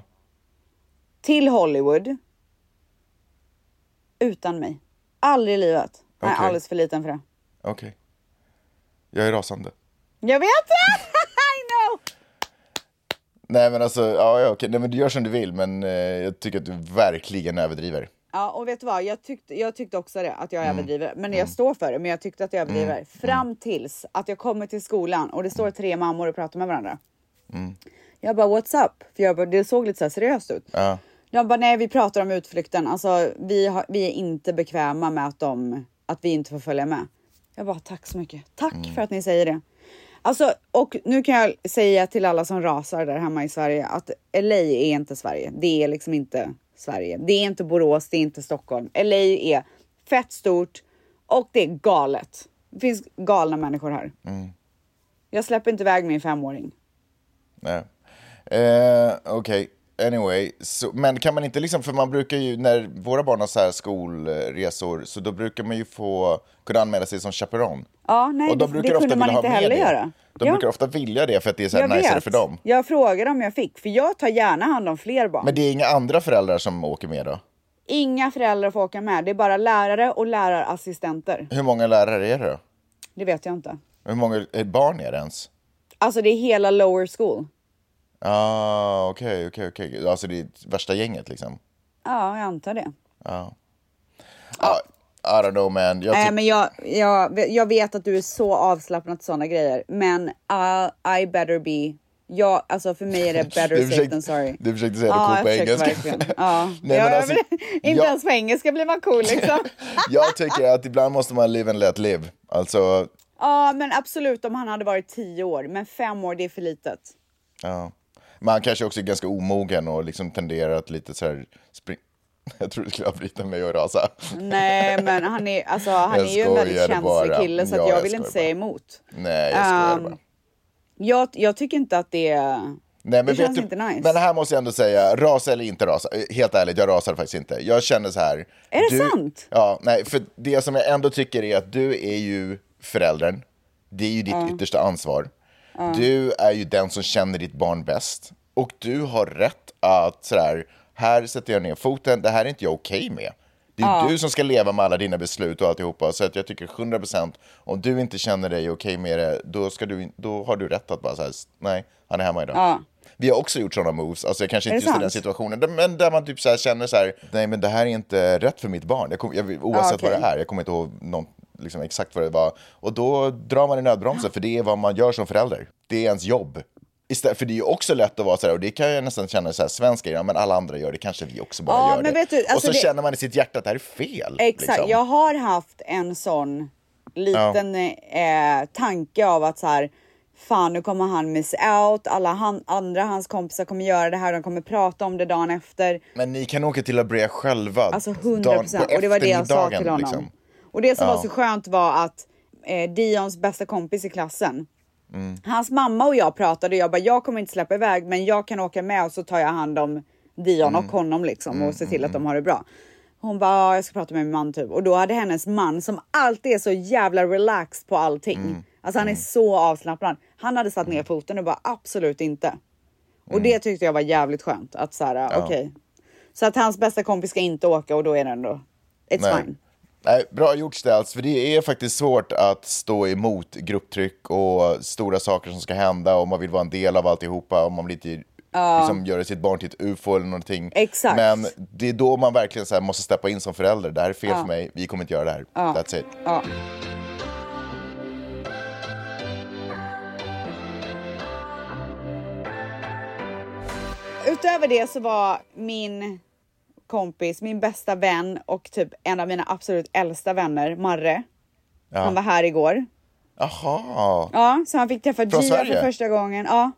[SPEAKER 1] till Hollywood. Utan mig. Aldrig i livet. Jag är
[SPEAKER 2] Okej.
[SPEAKER 1] alldeles för liten för det.
[SPEAKER 2] Okej. Jag är rasande.
[SPEAKER 1] Jag vet det! [LAUGHS] I know!
[SPEAKER 2] Nej men alltså, ja, ja okej. Nej, men du gör som du vill men eh, jag tycker att du verkligen överdriver.
[SPEAKER 1] Ja, och vet du vad? Jag tyckte, jag tyckte också det, att jag överdriver. Men jag står för det, men jag tyckte att jag överdriver. Fram tills att jag kommer till skolan och det står tre mammor och pratar med varandra. Jag bara, what's up? För jag bara, det såg lite så här seriöst ut.
[SPEAKER 2] Ja.
[SPEAKER 1] De bara, nej, vi pratar om utflykten. Alltså, vi, har, vi är inte bekväma med att, de, att vi inte får följa med. Jag bara, tack så mycket. Tack
[SPEAKER 2] Mm.
[SPEAKER 1] för att ni säger det. Alltså, och nu kan jag säga till alla som rasar där hemma i Sverige att LA är inte Sverige. Det är liksom inte Sverige. Det är inte Borås, det är inte Stockholm. LA är fett stort och det är galet. Det finns galna människor här.
[SPEAKER 2] Mm.
[SPEAKER 1] Jag släpper inte iväg min femåring.
[SPEAKER 2] Nej. Eh, Okej, anyway. Så, men kan man inte liksom, för man brukar ju, när våra barn har så här skolresor, så då brukar man ju få kunna anmäla sig som chaperon.
[SPEAKER 1] Ja, nej,
[SPEAKER 2] Och de
[SPEAKER 1] det-
[SPEAKER 2] brukar
[SPEAKER 1] det
[SPEAKER 2] ofta
[SPEAKER 1] kunde man
[SPEAKER 2] vilja
[SPEAKER 1] inte
[SPEAKER 2] ha med
[SPEAKER 1] heller
[SPEAKER 2] det.
[SPEAKER 1] göra.
[SPEAKER 2] De
[SPEAKER 1] Ja.
[SPEAKER 2] brukar ofta vilja det för att det är så här
[SPEAKER 1] Jag
[SPEAKER 2] najsare
[SPEAKER 1] vet.
[SPEAKER 2] för dem.
[SPEAKER 1] Jag frågade om jag fick, för jag tar gärna hand om fler barn.
[SPEAKER 2] Men det är inga andra föräldrar som åker med då?
[SPEAKER 1] Inga föräldrar får åka med. Det är bara lärare och lärarassistenter.
[SPEAKER 2] Hur många lärare är det då?
[SPEAKER 1] Det vet jag inte.
[SPEAKER 2] Hur många eh, barn är det ens?
[SPEAKER 1] Alltså det är hela lower school.
[SPEAKER 2] Ah, okej, okej, okej. Alltså det är värsta gänget liksom?
[SPEAKER 1] Ja, jag antar det.
[SPEAKER 2] Ja. Ah, I don't know man. Jag
[SPEAKER 1] Nej,
[SPEAKER 2] tyck-
[SPEAKER 1] men jag, jag, jag vet att du är så avslappnad till sådana grejer, men uh, I better be... Ja, alltså för mig är
[SPEAKER 2] [LAUGHS]
[SPEAKER 1] det better
[SPEAKER 2] Du
[SPEAKER 1] safe
[SPEAKER 2] försökte-
[SPEAKER 1] than sorry.
[SPEAKER 2] du försökte säga det
[SPEAKER 1] ja,
[SPEAKER 2] coolt på
[SPEAKER 1] jag försökte
[SPEAKER 2] engelska.
[SPEAKER 1] verkligen.
[SPEAKER 2] [LAUGHS]
[SPEAKER 1] Ja.
[SPEAKER 2] Nej,
[SPEAKER 1] ja,
[SPEAKER 2] men
[SPEAKER 1] jag
[SPEAKER 2] alltså,
[SPEAKER 1] vill- [LAUGHS] inte
[SPEAKER 2] jag-
[SPEAKER 1] ens på engelska blir man cool
[SPEAKER 2] [LAUGHS]
[SPEAKER 1] liksom.
[SPEAKER 2] jag tycker att ibland måste man live and let live. Alltså,
[SPEAKER 1] ja, men absolut om han hade varit tio år, men fem år det är för litet.
[SPEAKER 2] ja. Men han kanske också är ganska omogen och liksom tenderar att lite så här... Spring... [LAUGHS] Jag tror du skulle avbryta mig och rasa.
[SPEAKER 1] Mm. Nej, men han är, alltså, han
[SPEAKER 2] Jag
[SPEAKER 1] är ju en väldigt
[SPEAKER 2] skojar
[SPEAKER 1] känslig
[SPEAKER 2] bara.
[SPEAKER 1] kille så
[SPEAKER 2] Ja,
[SPEAKER 1] att jag
[SPEAKER 2] jag
[SPEAKER 1] vill inte
[SPEAKER 2] skojar
[SPEAKER 1] säga
[SPEAKER 2] bara.
[SPEAKER 1] emot.
[SPEAKER 2] Nej, jag skojar bara.
[SPEAKER 1] Ehm, Jag, jag tycker inte att det är...
[SPEAKER 2] Nej, men
[SPEAKER 1] det
[SPEAKER 2] vet
[SPEAKER 1] känns
[SPEAKER 2] du,
[SPEAKER 1] inte nice.
[SPEAKER 2] Men här måste jag ändå säga, rasa eller inte rasa. Eh, Helt ärligt, jag rasar faktiskt inte. Jag känner så här.
[SPEAKER 1] Är det sant?
[SPEAKER 2] Ja, nej, för det som jag ändå tycker är att du är ju föräldern. Det är ju ditt yttersta ansvar. Du är ju den som känner ditt barn bäst. Och du har rätt att så här, här sätter jag ner foten, det här är inte jag okej med. Det är du som ska leva med alla dina beslut och alltihopa. Så att jag tycker 100% om du inte känner dig okej med det, då, ska du, in- då har du rätt att bara säga nej, han är hemma idag. Vi har också gjort sådana moves, alltså kanske
[SPEAKER 1] Är
[SPEAKER 2] inte
[SPEAKER 1] det
[SPEAKER 2] just i den
[SPEAKER 1] sant?
[SPEAKER 2] situationen, där- men där man typ så här känner så här, nej men det här är inte rätt för mitt barn, jag kom, jag, oavsett
[SPEAKER 1] Ja, okej.
[SPEAKER 2] vad det är, jag kommer inte ihåg någon, liksom, exakt vad det var. Och då drar man i nödbromsen, för det är vad man gör som förälder. Det är ens jobb. Istället, för det är ju också lätt att vara så här, och det kan jag nästan känna så här, svenskar, ja men alla andra gör det, kanske vi också bara
[SPEAKER 1] Ja,
[SPEAKER 2] gör
[SPEAKER 1] men
[SPEAKER 2] det.
[SPEAKER 1] vet du,
[SPEAKER 2] och
[SPEAKER 1] alltså
[SPEAKER 2] så
[SPEAKER 1] det-
[SPEAKER 2] känner man i sitt hjärta att det här är fel.
[SPEAKER 1] Exakt,
[SPEAKER 2] liksom.
[SPEAKER 1] jag har haft en sån liten eh, tanke av att så här, fan nu kommer han miss out, alla han, andra hans kompisar kommer göra det här, de kommer prata om det dagen efter.
[SPEAKER 2] Men ni kan åka till La Brea själva.
[SPEAKER 1] Alltså 100 procent. Och det var det jag sa till honom.
[SPEAKER 2] liksom.
[SPEAKER 1] Och det som var så skönt var att eh, Dions bästa kompis i klassen, hans mamma och jag pratade och jag bara, jag kommer inte släppa iväg men jag kan åka med och så tar jag hand om Dion och honom liksom och ser till att de har det bra. Hon bara, "Ja, jag ska prata med min man typ. Och då hade hennes man som alltid är så jävla relaxed på allting. Alltså han är så avslappnad. Han hade satt ner foten och bara absolut inte. Och det tyckte jag var jävligt skönt att så här, okej. Så att hans bästa kompis ska inte åka och då är det ändå, it's fine.
[SPEAKER 2] Nej, bra gjort Ställs, för det är faktiskt svårt att stå emot grupptryck och stora saker som ska hända och man vill vara en del av alltihopa och man vill inte liksom, göra sitt barn till ett ufo eller någonting.
[SPEAKER 1] Exakt.
[SPEAKER 2] Men det är då man verkligen så här, måste steppa in som förälder. Det här är fel för mig, vi kommer inte göra det här. That's it.
[SPEAKER 1] Ja. Utöver det så var min kompis, min bästa vän och typ en av mina absolut äldsta vänner, Marre. Han var här igår.
[SPEAKER 2] Jaha,
[SPEAKER 1] Ja, så han fick träffa Gia
[SPEAKER 2] Från Sverige?
[SPEAKER 1] för första gången. Ja.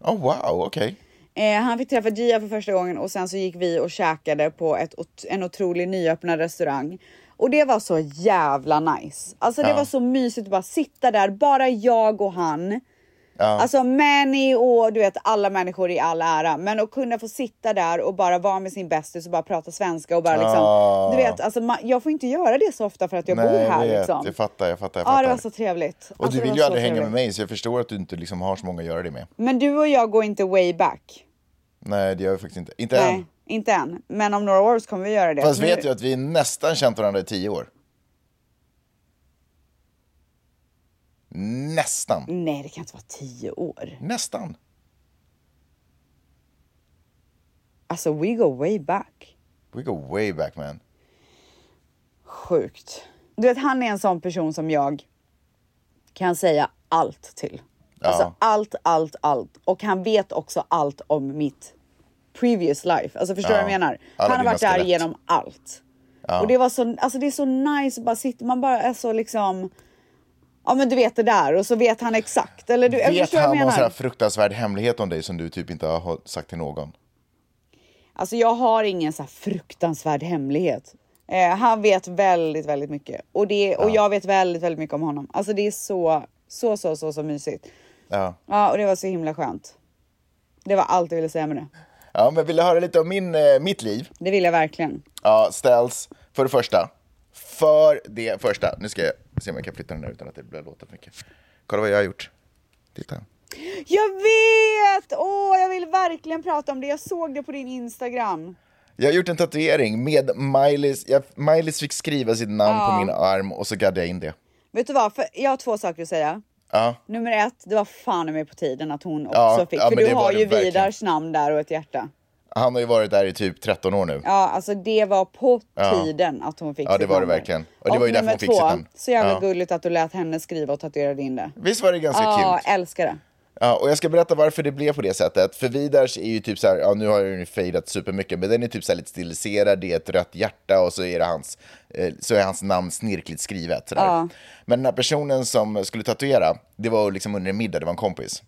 [SPEAKER 2] oh, wow, okej.
[SPEAKER 1] Eh, han fick träffa Gia för första gången och sen så gick vi och käkade på ett, ot- en otrolig nyöppnad restaurang. Och det var så jävla nice. Alltså det var så mysigt att bara sitta där, bara jag och han. Alltså Manny och du vet alla människor i all ära, men att kunna få sitta där och bara vara med sin bästis och bara prata svenska och bara liksom,
[SPEAKER 2] Ah.
[SPEAKER 1] du vet, alltså man, jag får inte göra det så ofta för att jag bor
[SPEAKER 2] jag
[SPEAKER 1] här
[SPEAKER 2] vet.
[SPEAKER 1] liksom.
[SPEAKER 2] Jag fattar, jag fattar. Jag
[SPEAKER 1] Ja,
[SPEAKER 2] fattar.
[SPEAKER 1] det var så trevligt.
[SPEAKER 2] och
[SPEAKER 1] Alltså,
[SPEAKER 2] du
[SPEAKER 1] det
[SPEAKER 2] vill
[SPEAKER 1] var
[SPEAKER 2] ju
[SPEAKER 1] så
[SPEAKER 2] aldrig hänga med
[SPEAKER 1] trevligt.
[SPEAKER 2] mig, så jag förstår att du inte liksom har så många att göra det med.
[SPEAKER 1] Men du och jag går inte way back.
[SPEAKER 2] Nej, det gör vi faktiskt inte. Inte
[SPEAKER 1] Nej,
[SPEAKER 2] än.
[SPEAKER 1] inte än. Men om några år så kommer vi göra det.
[SPEAKER 2] Fast
[SPEAKER 1] Nu-
[SPEAKER 2] vet jag att vi nästan känt varandra i tio år. Nästan.
[SPEAKER 1] Nej, det kan inte vara tio år.
[SPEAKER 2] Nästan.
[SPEAKER 1] Alltså, we go way back.
[SPEAKER 2] We go way back man.
[SPEAKER 1] Sjukt. Du vet, han är en sån person som jag kan säga allt till. Alltså allt, allt, allt. Och han vet också allt om mitt previous life. Alltså förstår du vad jag menar?
[SPEAKER 2] Alla
[SPEAKER 1] han har
[SPEAKER 2] dina
[SPEAKER 1] varit där
[SPEAKER 2] skelett.
[SPEAKER 1] genom allt. Och det var så, alltså det är så nice att bara sitta, man bara är så liksom, ja men du vet det där och så vet han exakt. Eller du, jag
[SPEAKER 2] vet
[SPEAKER 1] förstår vad jag
[SPEAKER 2] han någon sån här
[SPEAKER 1] menar.
[SPEAKER 2] fruktansvärd hemlighet om dig som du typ inte har sagt till någon?
[SPEAKER 1] Alltså jag har ingen så här fruktansvärd hemlighet. Eh, han vet väldigt, väldigt mycket och, det, och jag vet väldigt, väldigt mycket om honom. Alltså det är så, så, så, så, så mysigt.
[SPEAKER 2] Ja.
[SPEAKER 1] Ja, och det var så himla skönt. Det var allt jag ville säga med det.
[SPEAKER 2] Ja, men vill du höra lite om min, eh, mitt liv?
[SPEAKER 1] Det vill jag verkligen.
[SPEAKER 2] Ja, ställs. För det första. För det första. Nu ska jag se om jag kan flytta den där utan att det börjar låta för mycket. Kolla vad jag har gjort. Titta.
[SPEAKER 1] Jag vet! Åh, jag vill verkligen prata om det. Jag såg det på din Instagram.
[SPEAKER 2] Jag har gjort en tatuering med Miley's. Jag, Miley's fick skriva sitt namn på min arm och så gaddade jag in det.
[SPEAKER 1] Vet du vad? För jag har två saker att säga.
[SPEAKER 2] Ja.
[SPEAKER 1] Nummer ett, det var fan i mig på tiden att hon också
[SPEAKER 2] Ja,
[SPEAKER 1] fick.
[SPEAKER 2] ja,
[SPEAKER 1] för
[SPEAKER 2] men
[SPEAKER 1] du
[SPEAKER 2] det var
[SPEAKER 1] har
[SPEAKER 2] det
[SPEAKER 1] ju
[SPEAKER 2] verkligen.
[SPEAKER 1] Vidars namn där och ett hjärta.
[SPEAKER 2] Han har ju varit där i typ 13 år nu.
[SPEAKER 1] Ja, alltså det var på tiden att hon fick
[SPEAKER 2] Ja, det
[SPEAKER 1] sitt
[SPEAKER 2] var det
[SPEAKER 1] namn.
[SPEAKER 2] verkligen. Och det var ju därför
[SPEAKER 1] nummer
[SPEAKER 2] hon fick sitt namn.
[SPEAKER 1] Så jävla
[SPEAKER 2] Ja.
[SPEAKER 1] gulligt att du lät henne skriva och tatuerade in det.
[SPEAKER 2] Visst var det ganska
[SPEAKER 1] Ja,
[SPEAKER 2] kul?
[SPEAKER 1] älskar det.
[SPEAKER 2] Ja, och jag ska berätta varför det blev på det sättet. För Vidars är ju typ så här, ja nu har den ju fejdat supermycket, men den är typ så här lite stiliserad, det är ett rött hjärta och så är, det hans, eh, så är hans namn snirkligt skrivet. Sådär. Men den här personen som skulle tatuera, det var liksom under en middag, det var en kompis.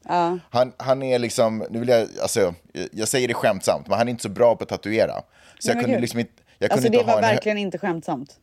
[SPEAKER 2] Han, han är liksom, nu vill jag, alltså, jag säger det skämtsamt, men han är inte så bra på att tatuera. Så jag
[SPEAKER 1] men
[SPEAKER 2] kunde
[SPEAKER 1] gud.
[SPEAKER 2] liksom inte, jag kunde
[SPEAKER 1] Alltså det
[SPEAKER 2] inte ha
[SPEAKER 1] var
[SPEAKER 2] en hö-
[SPEAKER 1] verkligen inte skämtsamt.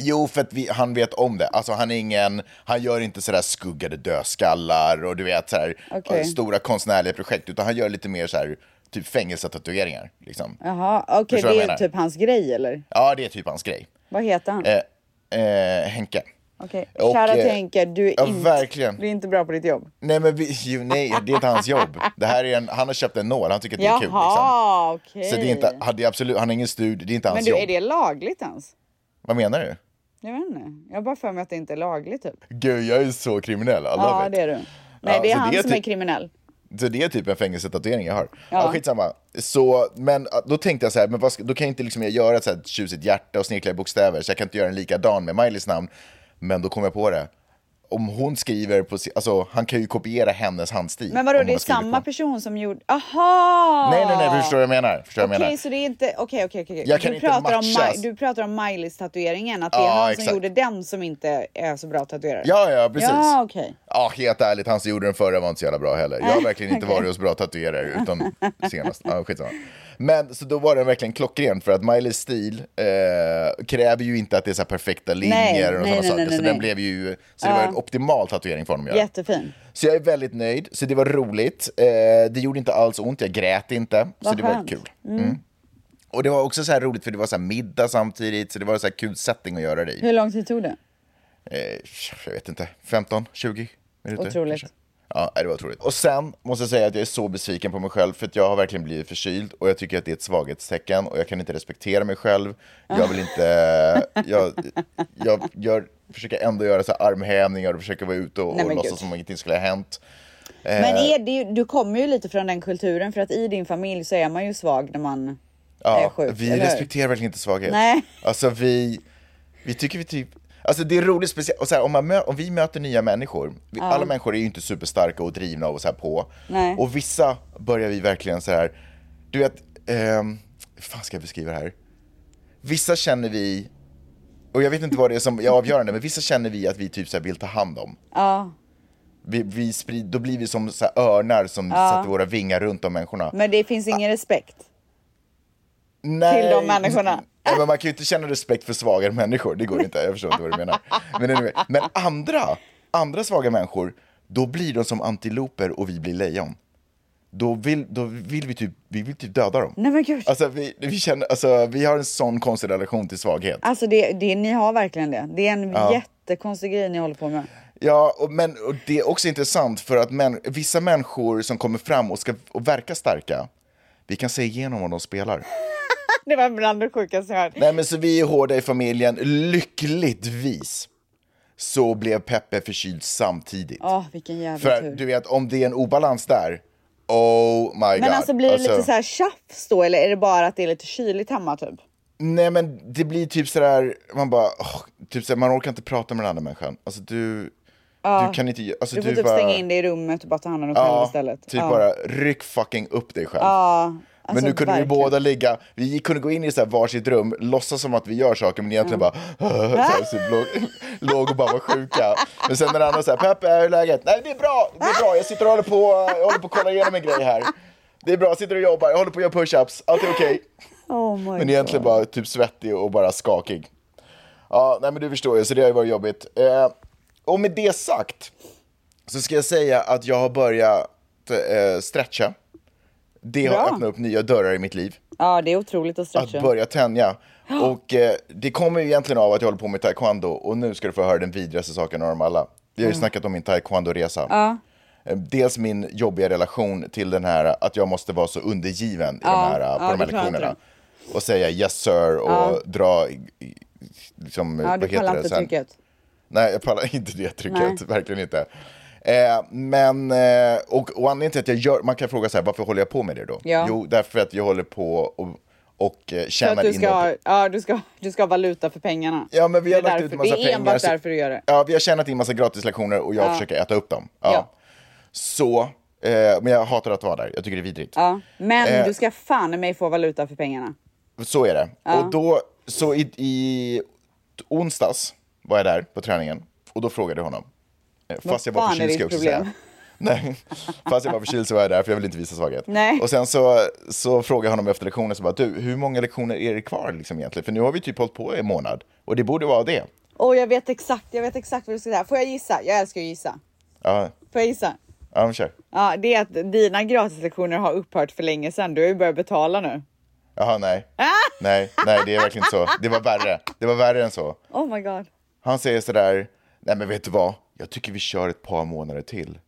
[SPEAKER 2] Jo, för att vi, han vet om det. Alltså, han, är ingen, han gör inte sådär skuggade dödskallar och du vet sådär,
[SPEAKER 1] Okej.
[SPEAKER 2] eh, stora konstnärliga projekt, utan han gör lite mer såhär, typ fängelsetatueringar. Liksom.
[SPEAKER 1] Jaha, okej
[SPEAKER 2] Förstår vad
[SPEAKER 1] det
[SPEAKER 2] jag
[SPEAKER 1] är
[SPEAKER 2] menar?
[SPEAKER 1] typ hans grej eller?
[SPEAKER 2] Ja, det är typ hans grej.
[SPEAKER 1] Vad heter han?
[SPEAKER 2] Eh, eh, Henke.
[SPEAKER 1] Okej,
[SPEAKER 2] och,
[SPEAKER 1] kära
[SPEAKER 2] eh,
[SPEAKER 1] Henke, du är,
[SPEAKER 2] ja,
[SPEAKER 1] inte,
[SPEAKER 2] verkligen.
[SPEAKER 1] du är inte bra på ditt jobb.
[SPEAKER 2] Nej, men vi, ju, nej, det är inte hans jobb. Det här är en, han har köpt en nål, han tycker att det är kul. Liksom.
[SPEAKER 1] Jaha, okej.
[SPEAKER 2] Så det är inte, han, det är absolut, han har ingen studie, det är inte
[SPEAKER 1] Men
[SPEAKER 2] hans
[SPEAKER 1] du,
[SPEAKER 2] jobb.
[SPEAKER 1] är det lagligt ens?
[SPEAKER 2] Vad menar du?
[SPEAKER 1] Jag vet inte. Jag har bara för mig att det inte är lagligt typ.
[SPEAKER 2] Gud, jag är så kriminell. I love
[SPEAKER 1] Ja,
[SPEAKER 2] it.
[SPEAKER 1] det är du. Nej,
[SPEAKER 2] Ja,
[SPEAKER 1] det är
[SPEAKER 2] så
[SPEAKER 1] han
[SPEAKER 2] det är
[SPEAKER 1] som
[SPEAKER 2] typ-
[SPEAKER 1] är kriminell.
[SPEAKER 2] Så det är typ en fängelsetatuering jag har.
[SPEAKER 1] Ja.
[SPEAKER 2] Ja. skitsamma. Så, men ah, då tänkte jag så här, men vad ska, då kan jag inte liksom jag göra ett så här tjusigt hjärta och snirkliga bokstäver, så jag kan inte göra en likadan med Mileys namn. Men då kom jag på det. Om hon skriver på si- alltså han kan ju kopiera hennes handstil.
[SPEAKER 1] Men vadå,
[SPEAKER 2] om hon
[SPEAKER 1] det är
[SPEAKER 2] har skrivit
[SPEAKER 1] samma
[SPEAKER 2] på.
[SPEAKER 1] person som gjorde... Aha!
[SPEAKER 2] Nej, nej, nej, förstår du vad jag menar? Förstår du
[SPEAKER 1] Okej,
[SPEAKER 2] vad jag menar?
[SPEAKER 1] så det är inte... Okej, okej, okej.
[SPEAKER 2] Jag kan
[SPEAKER 1] Du
[SPEAKER 2] inte
[SPEAKER 1] pratar om
[SPEAKER 2] matchas.
[SPEAKER 1] Ma- Du pratar om Miley's tatueringen, att det är
[SPEAKER 2] Ja,
[SPEAKER 1] han som
[SPEAKER 2] exakt.
[SPEAKER 1] gjorde den som inte är så bra tatuerare.
[SPEAKER 2] Ja, ja, precis.
[SPEAKER 1] Ja, okej.
[SPEAKER 2] Ja, helt ärligt, han som gjorde den förra var inte så jävla bra heller. Jag har verkligen inte varit hos bra tatuerare utan senast. Ja, skitsamma. Men så då var den verkligen klockren för att Mileys stil eh, kräver ju inte att det är så här perfekta linjer och
[SPEAKER 1] nej,
[SPEAKER 2] sådana
[SPEAKER 1] nej,
[SPEAKER 2] saker.
[SPEAKER 1] nej,
[SPEAKER 2] så
[SPEAKER 1] nej.
[SPEAKER 2] den blev ju, så det var en optimal tatuering för honom att göra.
[SPEAKER 1] Jättefin.
[SPEAKER 2] Så jag är väldigt nöjd, så det var roligt. Eh, det gjorde inte alls ont, jag grät inte. så
[SPEAKER 1] Vad
[SPEAKER 2] det var
[SPEAKER 1] skönt.
[SPEAKER 2] kul. Mm. Och det var också så här roligt för det var så här middag samtidigt, så det var så här kul setting att göra det i.
[SPEAKER 1] Hur lång tid tog det?
[SPEAKER 2] Eh, jag vet inte, 15, 20 minuter.
[SPEAKER 1] Otroligt.
[SPEAKER 2] kanske. Ja, nej, det var otroligt. Och sen måste jag säga att jag är så besviken på mig själv för att jag har verkligen blivit förkyld och jag tycker att det är ett svaghetstecken och jag kan inte respektera mig själv. Jag vill
[SPEAKER 1] [LAUGHS]
[SPEAKER 2] inte... Jag, jag gör, försöker ändå göra så här armhävningar och försöker vara ute och,
[SPEAKER 1] Nej, men
[SPEAKER 2] och låtsas
[SPEAKER 1] gud.
[SPEAKER 2] som om ingenting skulle ha hänt. Eh.
[SPEAKER 1] Men är det, ju- du kommer ju lite från den kulturen för att i din familj så är man ju svag när man är
[SPEAKER 2] Ja,
[SPEAKER 1] sjuk.
[SPEAKER 2] vi
[SPEAKER 1] eller hur?
[SPEAKER 2] respekterar verkligen inte svaghet.
[SPEAKER 1] Nej.
[SPEAKER 2] Alltså vi, vi tycker vi typ, alltså det är roligt speciellt, och så här, om, man mö, om vi möter nya människor, vi, alla människor är ju inte superstarka och drivna och så här på.
[SPEAKER 1] Nej.
[SPEAKER 2] Och vissa börjar vi verkligen så här, du vet, ehm, hur fan ska jag beskriva det här? Vissa känner vi, och jag vet inte vad det är som är avgörande, men vissa känner vi att vi typ så här vill ta hand om.
[SPEAKER 1] Ja,
[SPEAKER 2] Vi, vi sprid, då blir vi som så här örnar som sätter våra vingar runt om människorna.
[SPEAKER 1] men det finns
[SPEAKER 2] Ah.
[SPEAKER 1] ingen respekt.
[SPEAKER 2] Nej.
[SPEAKER 1] till de människorna.
[SPEAKER 2] Nej, men man kan ju inte känna respekt för svagare människor, det går inte, jag förstår inte vad du menar. Men, anyway. men andra, andra svaga människor, Då blir de som antiloper och vi blir lejon. Då vill, då vill vi, typ, vi vill typ döda dem.
[SPEAKER 1] Nej men gud.
[SPEAKER 2] Alltså, vi, vi, känner, alltså, vi har en sån konstig relation till svaghet.
[SPEAKER 1] Alltså det, det, ni har verkligen det. Det är en jättekonstig grej ni håller på
[SPEAKER 2] [LAUGHS]
[SPEAKER 1] med.
[SPEAKER 2] Ja, och, men och det är också intressant för att män, vissa människor som kommer fram och ska och verka starka, vi kan se igenom vad de spelar.
[SPEAKER 1] Det var bland det sjukaste jag hört.
[SPEAKER 2] Nej, men så vi är hårda i familjen, lyckligtvis så blev Peppe förkyld samtidigt.
[SPEAKER 1] Åh, vilken jävla
[SPEAKER 2] för
[SPEAKER 1] tur.
[SPEAKER 2] du vet, om det är en obalans där, oh my god.
[SPEAKER 1] Men alltså blir det lite så här tjafs då eller är det bara att det är lite kyligt hemma typ?
[SPEAKER 2] Nej men det blir typ sådär, man bara, åh, typ sådär, man orkar inte prata med den andra människan. Alltså du, du kan inte, alltså
[SPEAKER 1] Du får typ
[SPEAKER 2] bara,
[SPEAKER 1] stänga in dig i rummet och bara ta hand om dig själv
[SPEAKER 2] ja,
[SPEAKER 1] istället.
[SPEAKER 2] typ
[SPEAKER 1] Ja.
[SPEAKER 2] bara ryck fucking upp dig själv.
[SPEAKER 1] Ja, alltså,
[SPEAKER 2] men nu kunde
[SPEAKER 1] verkligen.
[SPEAKER 2] vi båda ligga, vi kunde gå in i så här varsitt rum, låtsas som att vi gör saker men egentligen bara [LAUGHS] så här, så låg, [LAUGHS] låg och bara var sjuka. Men sen när den andra såhär, Peppe hur är läget? Nej det är bra, det är bra, jag sitter och håller på, jag håller på att kolla igenom en grej här. Det är bra, jag sitter och jobbar, jag håller på att göra push-ups, allt är okej.
[SPEAKER 1] Oh my
[SPEAKER 2] Men egentligen bara typ svettig och bara skakig. Ja, nej men du förstår ju, så det har ju varit jobbigt. Eh, och med det sagt så ska jag säga att jag har börjat eh, stretcha. Det har
[SPEAKER 1] Bra.
[SPEAKER 2] öppnat upp nya dörrar i mitt liv.
[SPEAKER 1] Ja, det är otroligt att
[SPEAKER 2] Att
[SPEAKER 1] stretcha.
[SPEAKER 2] börja tänja. Och eh, det kommer ju egentligen av att jag håller på med taekwondo och nu ska du få höra den vidrigaste saken av dem alla. Vi har
[SPEAKER 1] Mm.
[SPEAKER 2] ju snackat om min taekwondo-resa. Eh, Dels min jobbiga relation till den här att jag måste vara så undergiven i de här, eh, på
[SPEAKER 1] ja,
[SPEAKER 2] de här
[SPEAKER 1] det klarar inte
[SPEAKER 2] lektionerna. Och säga yes sir och dra i- i- liksom,
[SPEAKER 1] ja,
[SPEAKER 2] vad
[SPEAKER 1] du
[SPEAKER 2] heter
[SPEAKER 1] pallar
[SPEAKER 2] det
[SPEAKER 1] inte
[SPEAKER 2] sen?
[SPEAKER 1] trycket.
[SPEAKER 2] Nej, jag pallar [LAUGHS] inte det trycket.
[SPEAKER 1] Nej.
[SPEAKER 2] Verkligen inte. Eh, men, eh, och, och anledningen till att jag gör, man kan fråga så här, varför håller jag på med det då?
[SPEAKER 1] Ja.
[SPEAKER 2] Jo, därför att jag håller på och, och eh,
[SPEAKER 1] För att
[SPEAKER 2] tjänar
[SPEAKER 1] du
[SPEAKER 2] in
[SPEAKER 1] ska,
[SPEAKER 2] något.
[SPEAKER 1] ha, ja, du, ska, du ska ha valuta för pengarna.
[SPEAKER 2] Ja, men vi
[SPEAKER 1] Det
[SPEAKER 2] har
[SPEAKER 1] är
[SPEAKER 2] lagt ut
[SPEAKER 1] därför-
[SPEAKER 2] massa
[SPEAKER 1] Det är enbart
[SPEAKER 2] pengar, så-
[SPEAKER 1] därför du gör det.
[SPEAKER 2] Ja, vi har tjänat in massa gratislektioner och jag försöker äta upp dem. Ja.
[SPEAKER 1] Ja.
[SPEAKER 2] Så, eh, men jag hatar att vara där, jag tycker det är vidrigt.
[SPEAKER 1] Ja. Men
[SPEAKER 2] Eh.
[SPEAKER 1] du ska fan i mig få valuta för pengarna.
[SPEAKER 2] Så är det. Och då, så i, i onsdags var jag där på träningen och då frågade jag honom. Eh, Fast jag var
[SPEAKER 1] fan är
[SPEAKER 2] förkyld ska
[SPEAKER 1] ditt
[SPEAKER 2] jag också
[SPEAKER 1] problem?
[SPEAKER 2] säga. [LAUGHS] Nej, fast jag var förkyld så var jag där för jag ville inte visa svaghet.
[SPEAKER 1] Nej.
[SPEAKER 2] Och sen så, så frågade jag honom efter lektionen, så bara, du, hur många lektioner är det kvar liksom egentligen? För nu har vi typ hållit på i en månad och det borde vara det.
[SPEAKER 1] Och jag vet exakt, jag vet exakt vad du ska säga. Får jag gissa? Jag älskar att gissa.
[SPEAKER 2] Ja,
[SPEAKER 1] Får jag gissa?
[SPEAKER 2] ja men kör.
[SPEAKER 1] Ja, det är att dina gratislektioner har upphört för länge sedan. Du har ju börjat betala nu. [LAUGHS]
[SPEAKER 2] Jaha, nej. Nej, nej, det är verkligen inte så. Det var värre. Det var värre än så.
[SPEAKER 1] Oh my god.
[SPEAKER 2] Han säger sådär, nej men vet du vad? Jag tycker vi kör ett par månader till.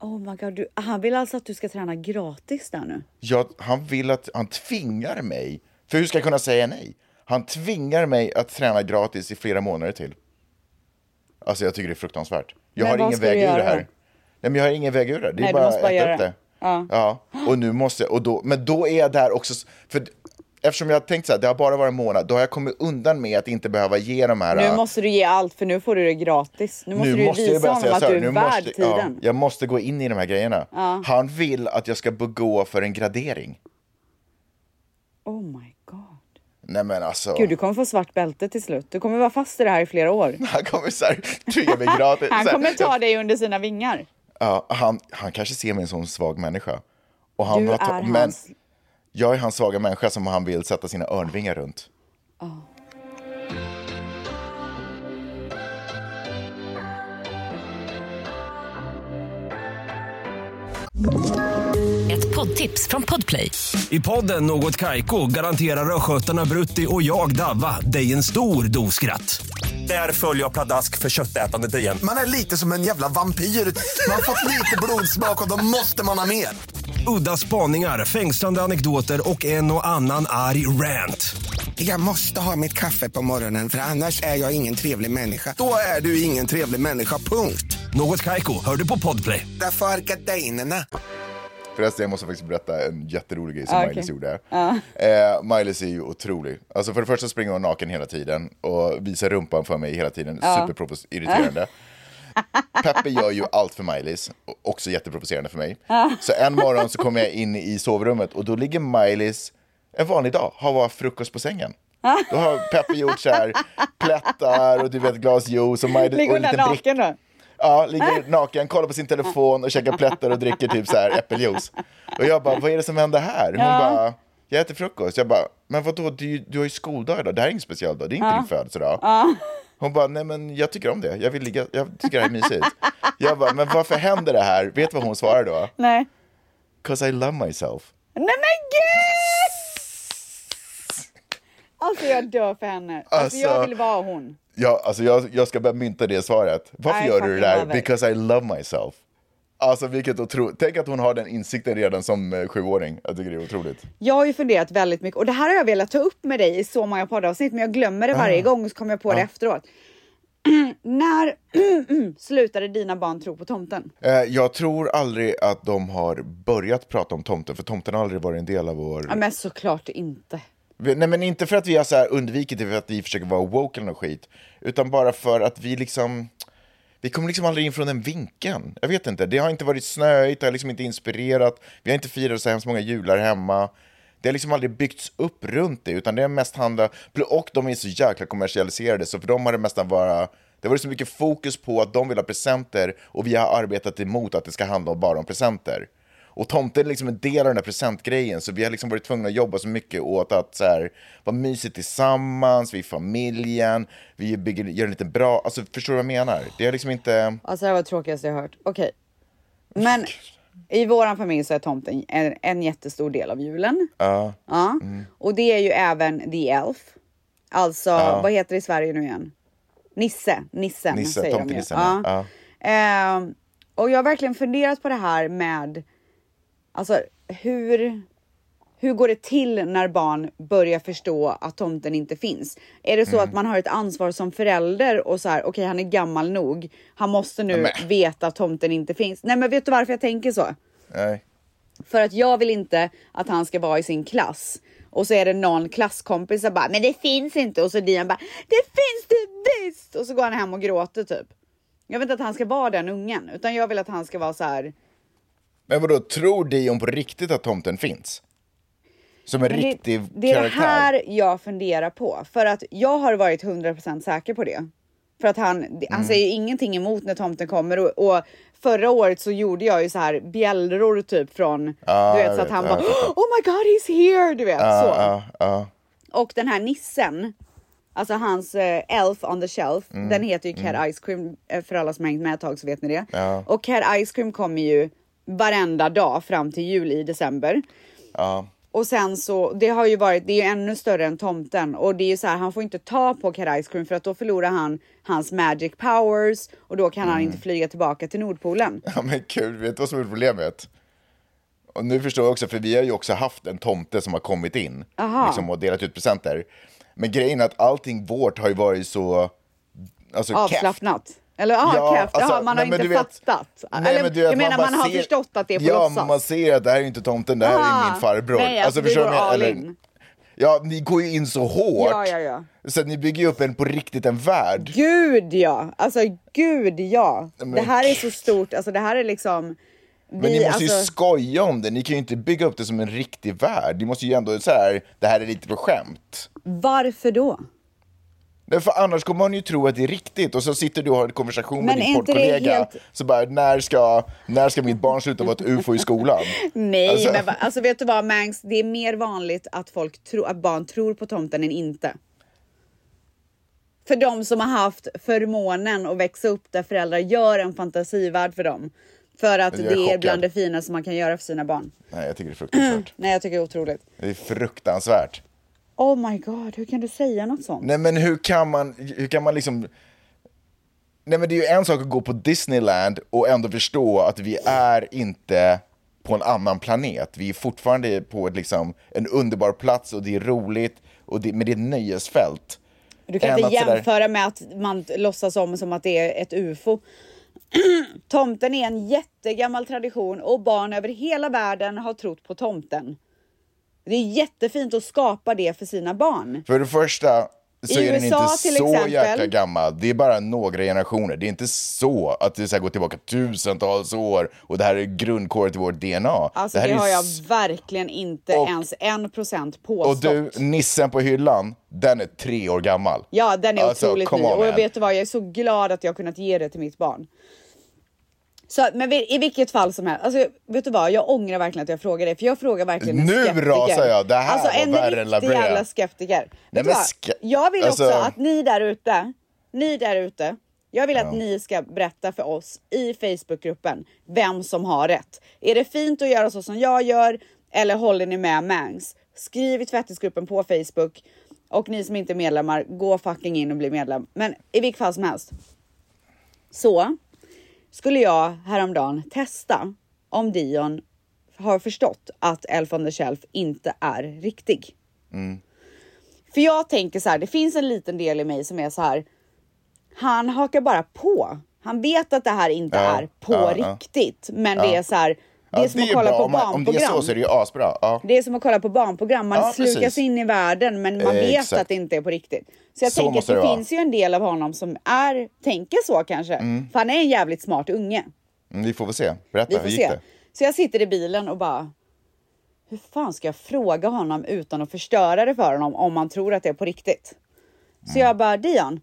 [SPEAKER 1] Oh my god, du, han vill alltså att du ska träna gratis där nu?
[SPEAKER 2] jag, han vill att, han tvingar mig, för hur ska jag kunna säga nej? Han tvingar mig att träna gratis i flera månader till. Alltså jag tycker det är fruktansvärt. Jag
[SPEAKER 1] Men
[SPEAKER 2] har
[SPEAKER 1] vad
[SPEAKER 2] ingen
[SPEAKER 1] ska
[SPEAKER 2] väg
[SPEAKER 1] du
[SPEAKER 2] ur det
[SPEAKER 1] göra
[SPEAKER 2] här.
[SPEAKER 1] då?
[SPEAKER 2] Nej men jag har ingen väg ur det, det är
[SPEAKER 1] Nej, du
[SPEAKER 2] bara
[SPEAKER 1] måste
[SPEAKER 2] att
[SPEAKER 1] bara
[SPEAKER 2] äta
[SPEAKER 1] göra
[SPEAKER 2] upp
[SPEAKER 1] det.
[SPEAKER 2] det. Ja. och nu måste jag, och då, men då är jag där också, s- för eftersom jag har tänkt så här, det har bara varit en månad, då har jag kommit undan med att inte behöva ge de här... äh,
[SPEAKER 1] Nu måste du ge allt för nu får du det gratis. Nu måste du ju
[SPEAKER 2] jag
[SPEAKER 1] visa
[SPEAKER 2] börja
[SPEAKER 1] honom
[SPEAKER 2] säga
[SPEAKER 1] att
[SPEAKER 2] så här,
[SPEAKER 1] du är värd
[SPEAKER 2] måste, ja,
[SPEAKER 1] tiden.
[SPEAKER 2] Jag måste gå in i de här grejerna. Han vill att jag ska gå för en gradering.
[SPEAKER 1] Oh my god.
[SPEAKER 2] Nej men alltså.
[SPEAKER 1] Gud, du kommer få svart bälte till slut. Du kommer vara fast i det här i flera år.
[SPEAKER 2] Han kommer så här, tvinga mig gratis.
[SPEAKER 1] Han
[SPEAKER 2] Så här,
[SPEAKER 1] kommer ta
[SPEAKER 2] jag-
[SPEAKER 1] dig under sina vingar.
[SPEAKER 2] Ja, han, han kanske ser mig som en svag människa. Och han
[SPEAKER 1] Du
[SPEAKER 2] har ta-
[SPEAKER 1] är
[SPEAKER 2] men
[SPEAKER 1] hans...
[SPEAKER 2] jag är hans svaga människa som han vill sätta sina örnvingar runt.
[SPEAKER 4] Ett poddtips från Podplay.
[SPEAKER 7] I podden Något Kaiko garanterar östgötarna Brutti och jag, Davva, dig en stor dos skratt. Där följer jag pladask för köttätandet igen.
[SPEAKER 8] Man är lite som en jävla vampyr. Man har fått lite blodsmak och då måste man ha mer.
[SPEAKER 7] Udda spaningar, fängslande anekdoter och en och annan arg rant.
[SPEAKER 8] Jag måste ha mitt kaffe på morgonen för annars är jag ingen trevlig människa. Då är du ingen trevlig människa, punkt.
[SPEAKER 7] Något Kaiko, hör du på Podplay.
[SPEAKER 8] Därför är gardinerna.
[SPEAKER 2] Förresten, jag måste faktiskt berätta en jätterolig grej som
[SPEAKER 1] Ja,
[SPEAKER 2] Miley
[SPEAKER 1] Ah, okej.
[SPEAKER 2] gjorde. Eh, Miley är ju otrolig. Alltså för det första springer hon naken hela tiden och visar rumpan för mig hela tiden.
[SPEAKER 1] Ah. [LAUGHS]
[SPEAKER 2] Superprovocerande. Peppe gör ju allt för Miley's, och också jätteprovocerande för mig.
[SPEAKER 1] Ah.
[SPEAKER 2] Så en morgon så kommer jag in i sovrummet och då ligger Miley's en vanlig dag, har bara frukost på sängen.
[SPEAKER 1] Ah.
[SPEAKER 2] Då har Peppe gjort så här plättar och du vet glas juice och Miley
[SPEAKER 1] Ligger
[SPEAKER 2] och
[SPEAKER 1] hon
[SPEAKER 2] en
[SPEAKER 1] där
[SPEAKER 2] liten bricka.
[SPEAKER 1] naken då?
[SPEAKER 2] Ja, ligger naken, kollar på sin telefon och käkar plättar och dricker typ så här äppeljuice. Och jag bara, vad är det som händer här? Hon bara, jag äter frukost. Jag bara, men vadå, du, du har ju skoldag idag, det här är ingen speciell dag, det är inte din födelsedag. Hon bara, nej men jag tycker om det. Jag, vill ligga, jag tycker det här är mysigt. Jag bara, men varför händer det här? Vet du vad hon svarar då?
[SPEAKER 1] Nej.
[SPEAKER 2] Cause I love myself.
[SPEAKER 1] Nej men gud! Alltså jag dör för henne. Alltså, jag
[SPEAKER 2] Alltså-
[SPEAKER 1] vill vara hon.
[SPEAKER 2] Ja, alltså jag, jag ska börja mynta det svaret. Varför
[SPEAKER 1] I
[SPEAKER 2] gör du det
[SPEAKER 1] fucking
[SPEAKER 2] där?
[SPEAKER 1] love it.
[SPEAKER 2] Because I love myself. Alltså vilket otroligt. Tänk att hon har den insikten redan som eh, sjuåring. Jag tycker det är otroligt.
[SPEAKER 1] Jag har ju funderat väldigt mycket och det här har jag velat ta upp med dig i så många poddavsnitt men jag glömmer det varje gång och så kommer jag på det efteråt. [CLEARS THROAT] När [CLEARS THROAT] slutade dina barn tro på tomten?
[SPEAKER 2] Eh, jag tror aldrig att de har börjat prata om tomten, för tomten har aldrig varit en del av vår...
[SPEAKER 1] Ja, men såklart inte.
[SPEAKER 2] Vi- Nej, men inte för att vi har så här undvikit det för att vi försöker vara woke eller något skit, utan bara för att vi liksom... Vi kommer liksom aldrig in från den vinkeln. Jag vet inte, det har inte varit snöigt, det har liksom inte inspirerat, vi har inte firat så hemskt många jular hemma. Det har liksom aldrig byggts upp runt det, utan det har mest handlat... Och de är så jäkla kommersialiserade, så för dem har det mest bara... Det har varit så mycket fokus på att de vill ha presenter och vi har arbetat emot att det ska handla om bara om presenter. Och tomten är liksom en del av den här presentgrejen, så vi har liksom varit tvungna att jobba så mycket åt att så här, vara mysigt tillsammans, vi är familjen, vi bygger, gör en liten bra... Alltså, förstår du vad jag menar? Det är liksom inte...
[SPEAKER 1] Alltså det här var det tråkigaste jag hört. Okej. Men i våran familj så är tomten en, en jättestor del av julen.
[SPEAKER 2] Ja. Mm.
[SPEAKER 1] Ja. Och det är ju även The Elf. Alltså, vad heter det i Sverige nu igen? Nisse. Nissen
[SPEAKER 2] Nisse,
[SPEAKER 1] säger de ju.
[SPEAKER 2] tomtenissen,
[SPEAKER 1] Ja.
[SPEAKER 2] ja.
[SPEAKER 1] Ehm, och jag har verkligen funderat på det här med alltså, hur, hur går det till när barn börjar förstå att tomten inte finns? Är det så
[SPEAKER 2] Mm.
[SPEAKER 1] att man har ett ansvar som förälder och så här, okej, han är gammal nog. Han måste nu
[SPEAKER 2] Nej, men-
[SPEAKER 1] veta att tomten inte finns. Nej, men vet du varför jag tänker så?
[SPEAKER 2] Nej.
[SPEAKER 1] För att jag vill inte att han ska vara i sin klass. Och så är det någon klasskompis som bara, men det finns inte. Och så Dian bara, det finns det visst! Och så går han hem och gråter typ. Jag vill inte att han ska vara den ungen, utan jag vill att han ska vara så här.
[SPEAKER 2] Men vadå, tror Dion på riktigt att tomten finns? Som en
[SPEAKER 1] Men
[SPEAKER 2] riktig
[SPEAKER 1] det, det är det
[SPEAKER 2] karaktär?
[SPEAKER 1] här jag funderar på. För att jag har varit 100% säker på det. För att han, det-
[SPEAKER 2] Mm.
[SPEAKER 1] han säger ingenting emot när tomten kommer. Och, och förra året så gjorde jag ju så här bjällror typ från,
[SPEAKER 2] Ja,
[SPEAKER 1] du vet
[SPEAKER 2] jag
[SPEAKER 1] så att
[SPEAKER 2] vet.
[SPEAKER 1] han
[SPEAKER 2] Ja,
[SPEAKER 1] bara,
[SPEAKER 2] jag fattar.
[SPEAKER 1] oh my god he's here! Du vet så.
[SPEAKER 2] Ja, ja, ja.
[SPEAKER 1] Och den här nissen, alltså hans eh, Elf on the shelf,
[SPEAKER 2] Mm.
[SPEAKER 1] den heter ju Cat Ice Cream. eh, För alla som har hängt med ett tag så vet ni det.
[SPEAKER 2] Ja.
[SPEAKER 1] Och Cat Ice Cream kommer ju varenda dag fram till jul i december.
[SPEAKER 2] ja.
[SPEAKER 1] Och sen så, det har ju varit, det är ju ännu större än tomten och det är ju så här, han får inte ta på Cat Ice Cream för att då förlorar han hans magic powers och då kan han
[SPEAKER 2] Mm.
[SPEAKER 1] inte flyga tillbaka till Nordpolen.
[SPEAKER 2] Ja men kul, vet du vad som är problemet? Och nu förstår jag också, för vi har ju också haft en tomte som har kommit in
[SPEAKER 1] Aha.
[SPEAKER 2] liksom, och delat ut presenter. Men grejen är att allting vårt har ju varit så... Alltså, keft.
[SPEAKER 1] Avslappnat. Eller aha, ja, keft. Jaha, man har
[SPEAKER 2] alltså, nej, men
[SPEAKER 1] inte
[SPEAKER 2] du vet-
[SPEAKER 1] fattat.
[SPEAKER 2] Nej,
[SPEAKER 1] Eller,
[SPEAKER 2] men du vet,
[SPEAKER 1] jag menar man,
[SPEAKER 2] bara
[SPEAKER 1] har
[SPEAKER 2] ser-
[SPEAKER 1] förstått att det är på
[SPEAKER 2] Ja,
[SPEAKER 1] låtsas.
[SPEAKER 2] man ser att det här är inte tomten, det här är
[SPEAKER 1] Aha.
[SPEAKER 2] min farbror.
[SPEAKER 1] Nej, alltså, vi
[SPEAKER 2] förstår du
[SPEAKER 1] går
[SPEAKER 2] vad jag-
[SPEAKER 1] all
[SPEAKER 2] eller-
[SPEAKER 1] in.
[SPEAKER 2] Ja, ni går ju in så hårt.
[SPEAKER 1] Ja, ja, ja.
[SPEAKER 2] Så att ni bygger ju upp en på riktigt en värld.
[SPEAKER 1] Gud ja, alltså gud ja.
[SPEAKER 2] men-
[SPEAKER 1] Det här är så stort, alltså det här är liksom. Vi,
[SPEAKER 2] Men ni måste ju
[SPEAKER 1] alltså,
[SPEAKER 2] skoja om det, ni kan ju inte bygga upp det som en riktig värld. Ni måste ju ändå så här, det här är lite på skämt.
[SPEAKER 1] Varför då?
[SPEAKER 2] Nej, för annars kommer man ju tro att det är riktigt och så sitter du och har en konversation med
[SPEAKER 1] Men
[SPEAKER 2] din
[SPEAKER 1] är inte det
[SPEAKER 2] poddkollega.
[SPEAKER 1] helt-
[SPEAKER 2] Så bara, när ska, när ska mitt barn sluta vara ett ufo i skolan?
[SPEAKER 1] [LAUGHS] Nej,
[SPEAKER 2] Alltså-
[SPEAKER 1] men va- alltså vet du vad Mangs, det är mer vanligt att folk tror att barn tror på tomten än inte. För de som har haft förmånen att växa upp där föräldrar gör en fantasivärld för dem. För att
[SPEAKER 2] Jag är
[SPEAKER 1] det är
[SPEAKER 2] chockad.
[SPEAKER 1] bland det finaste man kan göra för sina barn.
[SPEAKER 2] Nej, jag tycker det är fruktansvärt.
[SPEAKER 1] Nej, jag tycker det är otroligt.
[SPEAKER 2] Det är fruktansvärt.
[SPEAKER 1] Oh my god, hur kan du säga något sånt?
[SPEAKER 2] Nej, men hur kan man, hur kan man liksom... Nej, men det är ju en sak att gå på Disneyland och ändå förstå att vi är inte på en annan planet. Vi är fortfarande på ett, liksom, en underbar plats och det är roligt, och det, men det är ett nöjesfält.
[SPEAKER 1] Du kan
[SPEAKER 2] Än
[SPEAKER 1] inte
[SPEAKER 2] att sådär-
[SPEAKER 1] jämföra med att man t- låtsas om som att det är ett UFO. [CLEARS THROAT] tomten är en jättegammal tradition och barn över hela världen har trott på tomten. Det är jättefint att skapa det för sina barn.
[SPEAKER 2] För det första så
[SPEAKER 1] I
[SPEAKER 2] är den
[SPEAKER 1] USA
[SPEAKER 2] inte så
[SPEAKER 1] till exempel.
[SPEAKER 2] jäkla gammal. Det är bara några generationer. Det är inte så att det så här går tillbaka tusentals år och det här är grundkåret i vårt DNA.
[SPEAKER 1] Alltså
[SPEAKER 2] här
[SPEAKER 1] det,
[SPEAKER 2] är ju
[SPEAKER 1] har jag
[SPEAKER 2] s-
[SPEAKER 1] verkligen inte
[SPEAKER 2] Och-
[SPEAKER 1] ens en procent
[SPEAKER 2] Och
[SPEAKER 1] påstått.
[SPEAKER 2] du, nissen på hyllan, den är tre år gammal.
[SPEAKER 1] Ja, den är
[SPEAKER 2] Alltså,
[SPEAKER 1] otroligt
[SPEAKER 2] come
[SPEAKER 1] ny.
[SPEAKER 2] on,
[SPEAKER 1] Och jag
[SPEAKER 2] man.
[SPEAKER 1] vet du vad, jag är så glad att jag har kunnat ge det till mitt barn. Så, men vi- i vilket fall som helst, alltså, vet du vad, jag ångrar verkligen att jag frågar dig. För jag frågar verkligen en
[SPEAKER 2] Nu
[SPEAKER 1] skeptiker.
[SPEAKER 2] rasar jag. Det här
[SPEAKER 1] alltså
[SPEAKER 2] var
[SPEAKER 1] en
[SPEAKER 2] värre än La
[SPEAKER 1] riktig
[SPEAKER 2] Brea.
[SPEAKER 1] jävla skeptiker. Vet
[SPEAKER 2] men
[SPEAKER 1] du vad?
[SPEAKER 2] ske-
[SPEAKER 1] jag vill
[SPEAKER 2] alltså-
[SPEAKER 1] också att ni där ute ni där ute. Jag vill att ni ska berätta för oss i Facebookgruppen vem som har rätt. Är det fint att göra så som jag gör eller håller ni med Mangs? Skriv i tvättisgruppen på Facebook och ni som inte är medlemmar, gå fucking in och bli medlem. Men i vilket fall som helst. Så skulle jag häromdagen testa om Dion har förstått att Elf on the Shelf inte är riktig.
[SPEAKER 2] Mm.
[SPEAKER 1] För jag tänker så här, det finns en liten del i mig som är så här. Han hakar bara på. Han vet att det här inte
[SPEAKER 2] Ja,
[SPEAKER 1] är på
[SPEAKER 2] ja, ja.
[SPEAKER 1] riktigt, men det är så här. Det är
[SPEAKER 2] Ja,
[SPEAKER 1] som att kolla på
[SPEAKER 2] Om, man, om det är så
[SPEAKER 1] barnprogram.
[SPEAKER 2] så är det ju asbra. Ja.
[SPEAKER 1] Det är som att kolla på barnprogram. Man
[SPEAKER 2] Ja,
[SPEAKER 1] slukas
[SPEAKER 2] precis.
[SPEAKER 1] in i världen men man
[SPEAKER 2] Eh,
[SPEAKER 1] vet
[SPEAKER 2] exakt.
[SPEAKER 1] att det inte är på riktigt. Så jag
[SPEAKER 2] Så
[SPEAKER 1] tänker att
[SPEAKER 2] måste
[SPEAKER 1] det,
[SPEAKER 2] det vara.
[SPEAKER 1] finns ju en del av honom som är, tänker så kanske. För han är en jävligt smart unge.
[SPEAKER 2] Mm, Vi får väl se. Berätta,
[SPEAKER 1] Vi får
[SPEAKER 2] hur gick
[SPEAKER 1] se.
[SPEAKER 2] det?
[SPEAKER 1] Så jag sitter i bilen och bara. Hur fan ska jag fråga honom utan att förstöra det för honom om man tror att det är på riktigt? Så
[SPEAKER 2] Mm.
[SPEAKER 1] jag bara Dion.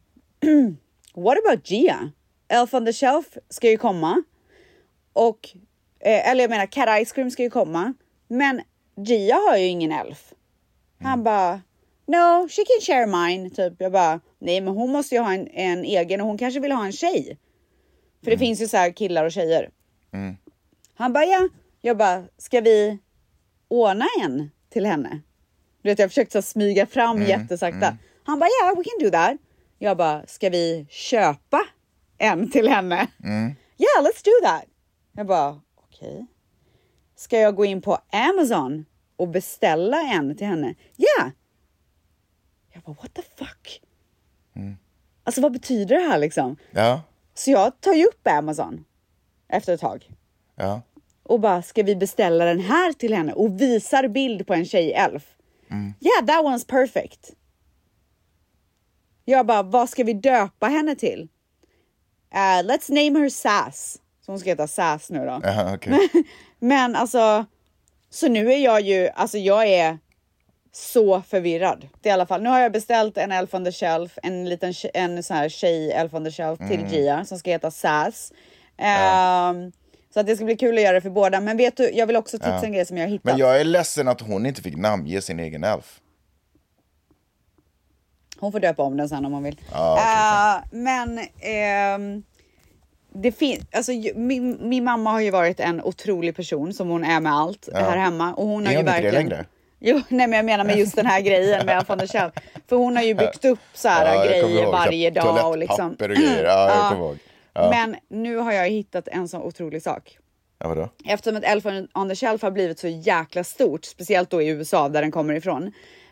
[SPEAKER 1] [CLEARS THROAT] What about Gia? Elf on the shelf ska ju komma och eh, eller jag menar Cat Ice Cream ska ju komma. Men Gia har ju ingen elf.
[SPEAKER 2] Mm.
[SPEAKER 1] Han bara No, she can share mine. Typ. Jag bara, nej men hon måste ju ha en, en egen och hon kanske vill ha en tjej. För
[SPEAKER 2] Mm.
[SPEAKER 1] det finns ju så här killar och tjejer. Han bara, ja. Jag bara, ska vi ordna en till henne? Du vet, jag försökte så här smyga fram jättesakta. Han bara, ja, yeah, we can do that. Jag bara, ska vi köpa en till henne? Yeah, let's do that. Jag bara, okej. Ska jag gå in på Amazon och beställa en till henne? Ja. Yeah. Jag bara, what the fuck? Alltså, vad betyder det här liksom?
[SPEAKER 2] Ja,
[SPEAKER 1] Så jag tar ju upp Amazon efter ett tag
[SPEAKER 2] ja.
[SPEAKER 1] och bara ska vi beställa den här till henne och visar bild på en tjejelf. Yeah, that one's perfect. Jag bara, vad ska vi döpa henne till? Eh, let's name her Sass. Så hon ska heta Sass nu då.
[SPEAKER 2] ja okej.
[SPEAKER 1] [LAUGHS] Men alltså, så nu är jag ju, alltså jag är så förvirrad. I alla fall, nu har jag beställt en Elf on the Shelf, en liten tje- en sån här tjej Elf on the Shelf till Gia som ska heta Sass. Ehm, så att det ska bli kul att göra det för båda. Men vet du, jag vill också tipsa en grej som jag har hittat.
[SPEAKER 2] Men jag är ledsen att hon inte fick namnge sin egen elf.
[SPEAKER 1] Hon får döpa om den sen om hon vill.
[SPEAKER 2] Ja,
[SPEAKER 1] Eh,
[SPEAKER 2] okej,
[SPEAKER 1] men ehm, det fin- alltså, ju- min, min mamma har ju varit en otrolig person som hon är med allt här hemma. Och hon har
[SPEAKER 2] Är
[SPEAKER 1] ju
[SPEAKER 2] hon inte det
[SPEAKER 1] verkligen...
[SPEAKER 2] längre?
[SPEAKER 1] Jo, nej, men jag menar med just den här grejen med Alfons och Kjell. För hon har ju byggt upp så här
[SPEAKER 2] jag kommer
[SPEAKER 1] grejer
[SPEAKER 2] ihåg,
[SPEAKER 1] varje
[SPEAKER 2] så här
[SPEAKER 1] dag. Och liksom.
[SPEAKER 2] Toalettpapper och grejer. Ja, jag
[SPEAKER 1] Ja.
[SPEAKER 2] kommer ihåg. Ja.
[SPEAKER 1] Men nu har jag hittat en sån otrolig sak.
[SPEAKER 2] Ja, vadå?
[SPEAKER 1] Eftersom att Elf on the Shelf har blivit så jäkla stort, speciellt då i USA där den kommer ifrån.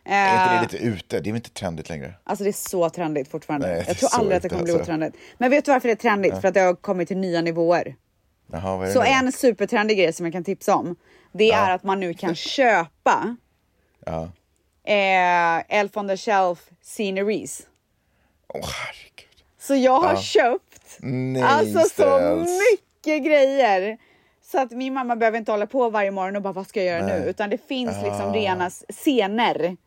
[SPEAKER 2] Är inte
[SPEAKER 1] Eh,
[SPEAKER 2] det lite ute? Det är väl inte trendigt längre?
[SPEAKER 1] Alltså det är så trendigt fortfarande.
[SPEAKER 2] Nej, det är
[SPEAKER 1] jag tror
[SPEAKER 2] så
[SPEAKER 1] aldrig att det
[SPEAKER 2] inte,
[SPEAKER 1] kommer bli
[SPEAKER 2] alltså.
[SPEAKER 1] otrendigt. Men vet du varför det är trendigt? För att det har kommit till nya nivåer.
[SPEAKER 2] Jaha, vad är det
[SPEAKER 1] Så
[SPEAKER 2] nu då?
[SPEAKER 1] en supertrendig grej som jag kan tipsa om. Det är att man nu kan köpa
[SPEAKER 2] Ja.
[SPEAKER 1] eh, Elf on the Shelf sceneries.
[SPEAKER 2] Åh, herregud.
[SPEAKER 1] Så jag har köpt
[SPEAKER 2] Nej,
[SPEAKER 1] alltså så
[SPEAKER 2] ställs.
[SPEAKER 1] mycket grejer. Så att min mamma behöver inte hålla på varje morgon och bara vad ska jag göra nu? Utan det finns
[SPEAKER 2] Ah.
[SPEAKER 1] liksom rena scener.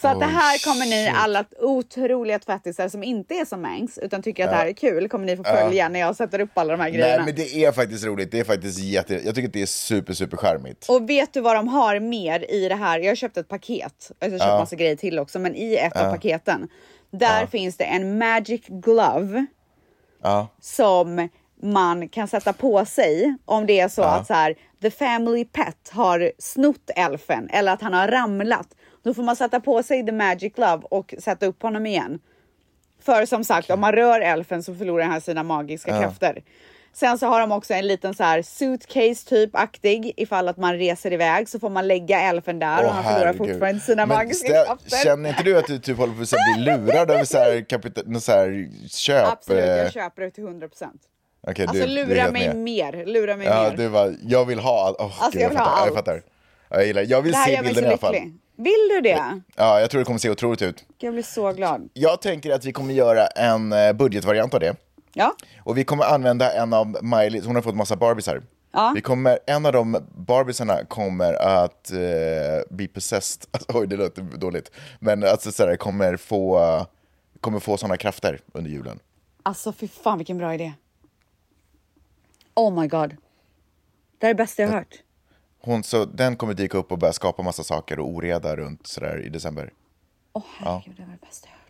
[SPEAKER 1] Så att det
[SPEAKER 2] Oj,
[SPEAKER 1] här kommer ni
[SPEAKER 2] Oh, shit.
[SPEAKER 1] alla otroliga tvättisar som inte är som Mangs utan tycker att det här är kul kommer ni få följa när jag sätter upp alla de här grejerna.
[SPEAKER 2] Nej, men det är faktiskt roligt. Det är faktiskt jätte... Jag tycker att det är super, super charmigt.
[SPEAKER 1] Och vet du vad de har mer i det här? Jag har köpt ett paket. Jag har köpt massa grejer till också, men i ett av paketen. Där finns det en magic glove.
[SPEAKER 2] Ja.
[SPEAKER 1] som man kan sätta på sig om det är så att så här, the family pet har snott elfen eller att han har ramlat. Då får man sätta på sig the magic glove och sätta upp honom igen. För som sagt, om man rör elfen så förlorar han sina magiska krafter. Sen så har de också en liten så här suitcase typ aktig ifall att man reser iväg så får man lägga elfen där och
[SPEAKER 2] Åh,
[SPEAKER 1] han förlorar
[SPEAKER 2] herregud.
[SPEAKER 1] fortfarande sina
[SPEAKER 2] Men
[SPEAKER 1] magiska
[SPEAKER 2] stä-
[SPEAKER 1] krafter.
[SPEAKER 2] Känner inte du att du typ håller på att bli lurad över så här, kapita- någon så här köp?
[SPEAKER 1] Absolut,
[SPEAKER 2] eh,
[SPEAKER 1] jag köper det till 100 procent.
[SPEAKER 2] okej,
[SPEAKER 1] Alltså
[SPEAKER 2] du- du är
[SPEAKER 1] lura
[SPEAKER 2] helt
[SPEAKER 1] mig
[SPEAKER 2] med.
[SPEAKER 1] mer, lura mig
[SPEAKER 2] Ja,
[SPEAKER 1] mer.
[SPEAKER 2] du bara, jag vill ha allt. Åh,
[SPEAKER 1] jag
[SPEAKER 2] gud, jag,
[SPEAKER 1] vill ha
[SPEAKER 2] fattar,
[SPEAKER 1] allt.
[SPEAKER 2] jag fattar. Ja, Jag, gillar. jag vill
[SPEAKER 1] Det här
[SPEAKER 2] se
[SPEAKER 1] gör mig så
[SPEAKER 2] bilden i alla fall.
[SPEAKER 1] lycklig. Vill du det?
[SPEAKER 2] Ja, jag tror det kommer se otroligt ut.
[SPEAKER 1] Jag blir så glad.
[SPEAKER 2] Jag tänker att vi kommer göra en eh, budgetvariant av det.
[SPEAKER 1] Ja,
[SPEAKER 2] Och vi kommer använda en av Miley, hon har fått massa Barbiesar.
[SPEAKER 1] Ja.
[SPEAKER 2] Vi kommer, en av de Barbiesarna kommer att eh, bli possessed, [LAUGHS] alltså, oj det låter dåligt, men alltså, så här, kommer få, kommer få sådana krafter under julen.
[SPEAKER 1] alltså fy fan vilken bra idé. Oh my god. Det här är det bästa jag har hört.
[SPEAKER 2] Hon, så, den kommer dyka upp och börja skapa massa saker och oreda runt sådär i december.
[SPEAKER 1] Åh herregud, det var det bästa jag har hört.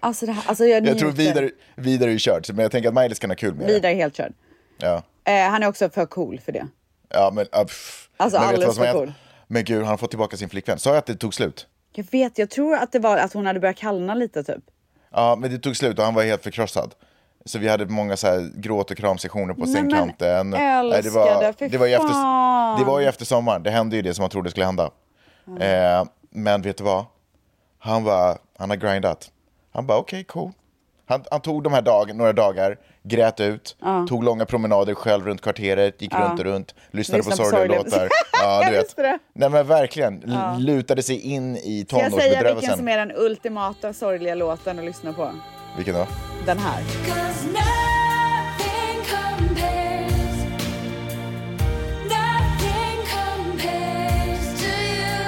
[SPEAKER 1] Alltså, det här, alltså jag,
[SPEAKER 2] Jag tror
[SPEAKER 1] njuter.
[SPEAKER 2] vidare, vidare är körd, men jag tänker att Maj-Lis kan ha kul med det.
[SPEAKER 1] Vidar är helt körd.
[SPEAKER 2] Ja.
[SPEAKER 1] Eh, han är också för cool för det.
[SPEAKER 2] Ja, men, ah, pff.
[SPEAKER 1] Alltså,
[SPEAKER 2] men vet du
[SPEAKER 1] alldeles
[SPEAKER 2] vad som
[SPEAKER 1] för
[SPEAKER 2] har
[SPEAKER 1] cool.
[SPEAKER 2] hänt? Men gud, han har fått tillbaka sin flickvän. Sa jag att det tog slut?
[SPEAKER 1] Jag vet, jag tror att det var att hon hade börjat kallna lite typ.
[SPEAKER 2] Ja, men det tog slut och han var helt förkrossad. Så vi hade många så här gråt och kramsektioner på
[SPEAKER 1] men
[SPEAKER 2] sängkanten. det,
[SPEAKER 1] älskade, fy
[SPEAKER 2] var, det, var ju efter,
[SPEAKER 1] fan.
[SPEAKER 2] det var ju efter sommaren, det hände ju det som man trodde skulle hända. Eh, men vet du vad? Han, var, han har grindat. Han bara okej, cool. Han, han tog de här dag, några dagar, grät ut, tog långa promenader själv runt kvarteret, gick runt och runt, lyssnade
[SPEAKER 1] Lyssnade
[SPEAKER 2] på
[SPEAKER 1] på sorgliga-
[SPEAKER 2] sorgliga
[SPEAKER 1] [LAUGHS]
[SPEAKER 2] låtar. Ja,
[SPEAKER 1] Jag
[SPEAKER 2] du vet.
[SPEAKER 1] visste det.
[SPEAKER 2] Nej men verkligen, L- lutade sig in i
[SPEAKER 1] Ska jag säga vilken
[SPEAKER 2] tonårsbedrövelsen.
[SPEAKER 1] som är den ultimata sorgliga låten att lyssna på?
[SPEAKER 2] Vilken då?
[SPEAKER 1] Den här.
[SPEAKER 3] 'Cause nothing compares, nothing compares to you.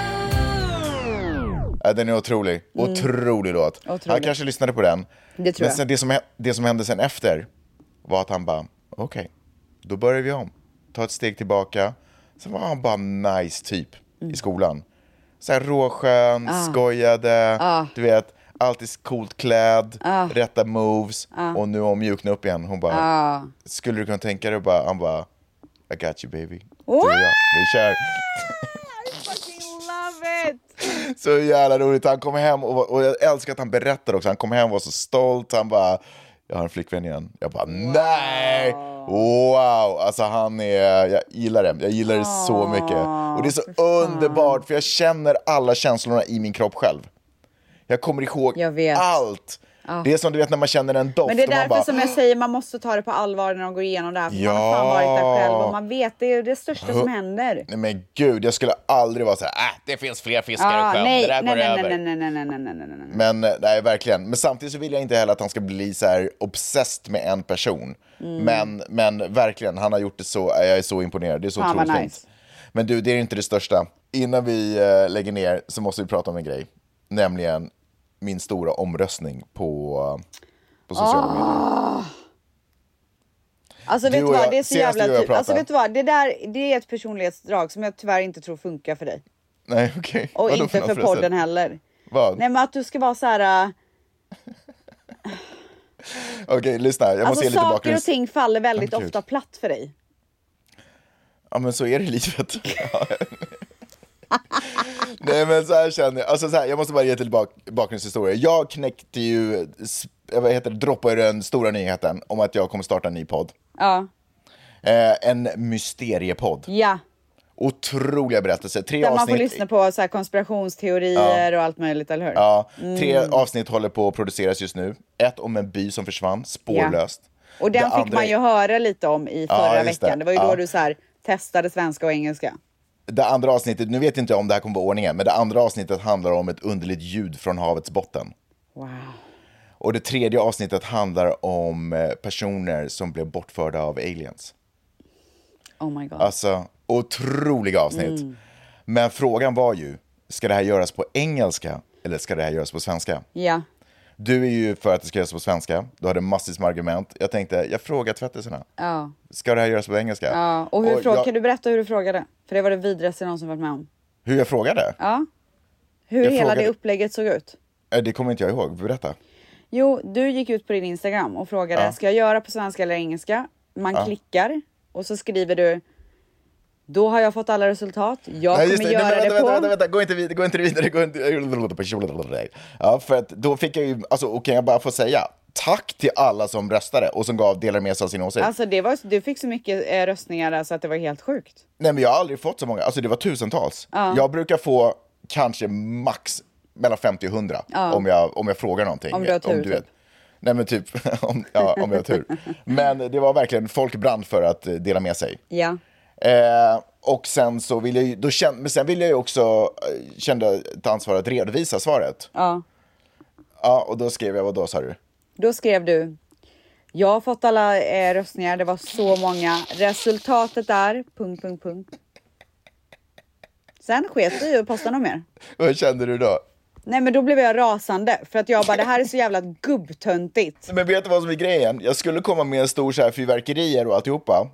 [SPEAKER 2] Ja, Äh, den är otrolig. Otrolig låt. Han kanske lyssnade på den.
[SPEAKER 1] Mm. Det tror
[SPEAKER 2] Men
[SPEAKER 1] jag.
[SPEAKER 2] sen, det, som, hä- det som hände sen efter var att han bara, okej, då börjar vi om. Ta ett steg tillbaka. Sen var han bara nice typ
[SPEAKER 1] Mm.
[SPEAKER 2] i skolan. Så här råskön,
[SPEAKER 1] Ah.
[SPEAKER 2] skojade, du vet, alltid coolt klädd,
[SPEAKER 1] Ah.
[SPEAKER 2] rätta moves. Och nu har hon mjuknat upp igen. Hon bara,
[SPEAKER 1] Ah.
[SPEAKER 2] skulle du kunna tänka dig? Och bara, han bara, I got you baby. Du och jag, vi kör.
[SPEAKER 1] Love it!
[SPEAKER 2] Så jävla roligt. Han kommer hem och, var- och jag älskar att han berättar också. Han kommer hem och var så stolt. Han bara, jag har en flickvän igen. Jag bara, nej! Wow! Alltså han är, jag gillar det. Jag gillar det så mycket. Och det är så underbart för jag känner alla känslorna i min kropp själv. Jag kommer ihåg
[SPEAKER 1] Jag vet. Ah.
[SPEAKER 2] allt. Det är som du vet när man känner en doft.
[SPEAKER 1] Men det är
[SPEAKER 2] och man
[SPEAKER 1] därför
[SPEAKER 2] bara,
[SPEAKER 1] som jag säger man måste ta det på allvar när de går igenom det här. För man har fan
[SPEAKER 2] Ja.
[SPEAKER 1] varit där själv och man vet det är det största som händer.
[SPEAKER 2] Nej men gud, jag skulle aldrig vara så här, ah, det finns fler fiskar i
[SPEAKER 1] Ah,
[SPEAKER 2] sjön,
[SPEAKER 1] nej,
[SPEAKER 2] det där
[SPEAKER 1] nej,
[SPEAKER 2] går över.
[SPEAKER 1] nej, nej, nej, nej, nej, nej, nej, nej, nej.
[SPEAKER 2] Men eh, nej, verkligen. Men samtidigt så vill jag inte heller att han ska bli så här obsessed med en person.
[SPEAKER 1] Mm.
[SPEAKER 2] Men, men verkligen, han har gjort det så, eh, jag är så imponerad. Det är så
[SPEAKER 1] Fan, vad
[SPEAKER 2] otroligt
[SPEAKER 1] nice.
[SPEAKER 2] fint. Men du, det är inte det största. Innan vi eh, lägger ner så måste vi prata om en grej. Nämligen min stora omröstning på, på sociala
[SPEAKER 1] Ah.
[SPEAKER 2] medier.
[SPEAKER 1] Alltså
[SPEAKER 2] Du
[SPEAKER 1] vet du
[SPEAKER 2] och
[SPEAKER 1] vad,
[SPEAKER 2] jag-
[SPEAKER 1] det är så
[SPEAKER 2] senast du
[SPEAKER 1] jävla
[SPEAKER 2] och jag
[SPEAKER 1] typ. Alltså
[SPEAKER 2] pratade.
[SPEAKER 1] vet du vad, det där det är ett personlighetsdrag som jag tyvärr inte tror funkar för dig.
[SPEAKER 2] Nej, okej.
[SPEAKER 1] Och
[SPEAKER 2] Vadå
[SPEAKER 1] inte
[SPEAKER 2] något
[SPEAKER 1] för
[SPEAKER 2] förresten?
[SPEAKER 1] podden heller.
[SPEAKER 2] Vad?
[SPEAKER 1] Nej men att du ska vara så här. äh,
[SPEAKER 2] Okej, lyssna. Jag måste
[SPEAKER 1] Alltså
[SPEAKER 2] ge lite
[SPEAKER 1] saker
[SPEAKER 2] bakgrund.
[SPEAKER 1] och ting faller väldigt
[SPEAKER 2] Absolut.
[SPEAKER 1] ofta platt för dig.
[SPEAKER 2] Ja men så är det i livet. [LAUGHS] Ja. Nej men så här känner jag, alltså så här, jag måste bara ge till bak- bakgrundshistoria. Jag knäckte ju, s- vad heter det, droppade den stora nyheten om att jag kommer starta en ny podd.
[SPEAKER 1] Ja,
[SPEAKER 2] Eh, en mysteriepodd.
[SPEAKER 1] ja.
[SPEAKER 2] Otroliga berättelser, tre
[SPEAKER 1] Där man
[SPEAKER 2] avsnitt.
[SPEAKER 1] får lyssna på så här konspirationsteorier och allt möjligt, eller hur?
[SPEAKER 2] Ja, tre
[SPEAKER 1] Mm.
[SPEAKER 2] avsnitt håller på att produceras just nu. Ett om en by som försvann, spårlöst.
[SPEAKER 1] Och den
[SPEAKER 2] Det
[SPEAKER 1] fick
[SPEAKER 2] andra-
[SPEAKER 1] man ju höra lite om i
[SPEAKER 2] Ja,
[SPEAKER 1] förra
[SPEAKER 2] just det.
[SPEAKER 1] veckan. Det var ju
[SPEAKER 2] Ja.
[SPEAKER 1] då du så här testade svenska och engelska.
[SPEAKER 2] Det andra avsnittet, nu vet jag inte om det här kommer vara ordningen, men det andra avsnittet handlar om ett underligt ljud från havets botten.
[SPEAKER 1] Wow.
[SPEAKER 2] Och det tredje avsnittet handlar om eh, personer som blev bortförda av aliens.
[SPEAKER 1] Oh my god.
[SPEAKER 2] Alltså, otroliga avsnitt.
[SPEAKER 1] Mm.
[SPEAKER 2] Men frågan var ju, ska det här göras på engelska eller ska det här göras på svenska?
[SPEAKER 1] Ja.
[SPEAKER 2] Du är ju för att det ska göras på svenska, du hade massvis med argument. Jag tänkte, jag frågar tvättisarna,
[SPEAKER 1] Ja.
[SPEAKER 2] ska det här göras på engelska?
[SPEAKER 1] ja. Och hur fråga,
[SPEAKER 2] jag,
[SPEAKER 1] kan du berätta hur du frågade? För det var det vidrigaste jag någonsin varit med om.
[SPEAKER 2] hur jag frågade?
[SPEAKER 1] Ja. Hur
[SPEAKER 2] Jag
[SPEAKER 1] hela
[SPEAKER 2] frågade-
[SPEAKER 1] det upplägget såg ut.
[SPEAKER 2] Eh, Det kommer inte jag ihåg, berätta.
[SPEAKER 1] Jo, du gick ut på din Instagram och frågade ska jag göra på svenska eller engelska? Man klickar och så skriver du då har jag fått alla resultat. Jag
[SPEAKER 2] Nej, just
[SPEAKER 1] kommer
[SPEAKER 2] det. Nej,
[SPEAKER 1] göra
[SPEAKER 2] men
[SPEAKER 1] det
[SPEAKER 2] vänta,
[SPEAKER 1] på...
[SPEAKER 2] vänta, vänta, vänta, gå inte vidare, gå inte vidare, gå inte... Ja, för att då fick jag ju, alltså, och kan jag bara få säga tack till alla som röstade och som gav, delade med sig av sin åsikt.
[SPEAKER 1] Alltså det var, du fick så mycket eh, röstningar där, så att det var helt sjukt.
[SPEAKER 2] Nej, men jag har aldrig fått så många, alltså det var tusentals. Jag brukar få kanske max mellan 50 och 100 om, jag, om jag frågar någonting.
[SPEAKER 1] Om du har tur,
[SPEAKER 2] vet.
[SPEAKER 1] typ.
[SPEAKER 2] Nej men typ, [LAUGHS] om, ja, om jag
[SPEAKER 1] [LAUGHS]
[SPEAKER 2] har tur. Men det var verkligen, folk brann för att eh, dela med sig.
[SPEAKER 1] Ja.
[SPEAKER 2] Eh, och sen så vill jag ju, då kände, men sen vill jag ju också, eh, kände ett ansvar att redovisa svaret.
[SPEAKER 1] ja.
[SPEAKER 2] Ja, och då skrev jag, vad då sa du? [LAUGHS]
[SPEAKER 1] Då skrev du jag har fått alla eh, röstningar, det var så många. Resultatet är... Punkt, punkt, punkt. Sen sket du i att posta något mer.
[SPEAKER 2] Vad kände du då?
[SPEAKER 1] Nej men då blev jag rasande för att jag bara det här är så jävla gubbtöntigt.
[SPEAKER 2] Men vet du vad som är grejen? Jag skulle komma med en stor så här fyrverkerier och alltihopa.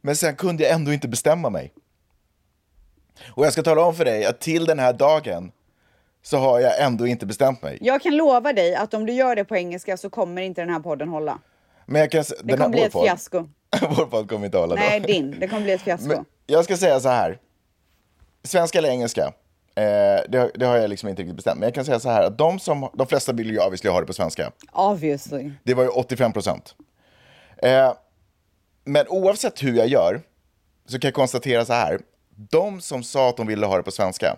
[SPEAKER 2] Men sen kunde jag ändå inte bestämma mig. Och jag ska tala om för dig att till den här dagen så har jag ändå inte bestämt mig.
[SPEAKER 1] Jag kan lova dig att om du gör det på engelska så kommer inte den här podden hålla.
[SPEAKER 2] Men jag kan, s-
[SPEAKER 1] Det
[SPEAKER 2] den
[SPEAKER 1] kommer
[SPEAKER 2] här,
[SPEAKER 1] bli
[SPEAKER 2] vår
[SPEAKER 1] ett
[SPEAKER 2] podd-
[SPEAKER 1] fiasko.
[SPEAKER 2] [LAUGHS] Vår podd kommer inte att hålla då.
[SPEAKER 1] Nej, din. Det kommer bli ett fiasko.
[SPEAKER 2] Men jag ska säga så här. Svenska eller engelska? Eh, det, har- det har jag liksom inte riktigt bestämt. Men jag kan säga så här att de, som, de flesta vill ju obviously ha det på svenska.
[SPEAKER 1] Obviously.
[SPEAKER 2] Det var ju 85 procent. Eh, men oavsett hur jag gör så kan jag konstatera så här. De som sa att de ville ha det på svenska,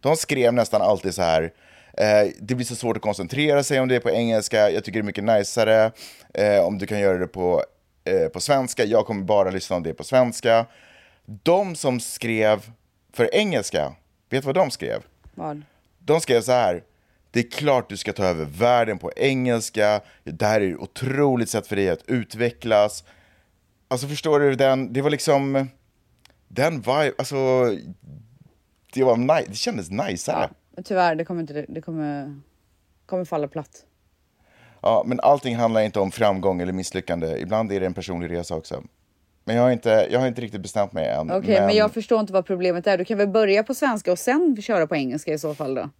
[SPEAKER 2] de skrev nästan alltid så här. Eh, det blir så svårt att koncentrera sig om det är på engelska. Jag tycker det är mycket najsare eh, om du kan göra det på, eh, på svenska. Jag kommer bara lyssna om det är på svenska. De som skrev för engelska, vet du vad de skrev?
[SPEAKER 1] Vad?
[SPEAKER 2] De skrev så här. Det är klart du ska ta över världen på engelska. Det här är ett otroligt sätt för dig att utvecklas. Alltså förstår du den, det var liksom den vibe, alltså det var nice, det kändes niceare. Ja.
[SPEAKER 1] Tyvärr, det kommer, inte, det kommer, kommer falla platt.
[SPEAKER 2] men allting handlar inte om framgång eller misslyckande. Ibland är det en personlig resa också. Men jag har inte, jag har inte riktigt bestämt mig än.
[SPEAKER 1] Okej, men... jag förstår inte vad problemet är. Du kan väl börja på svenska och sen köra på engelska i så fall då?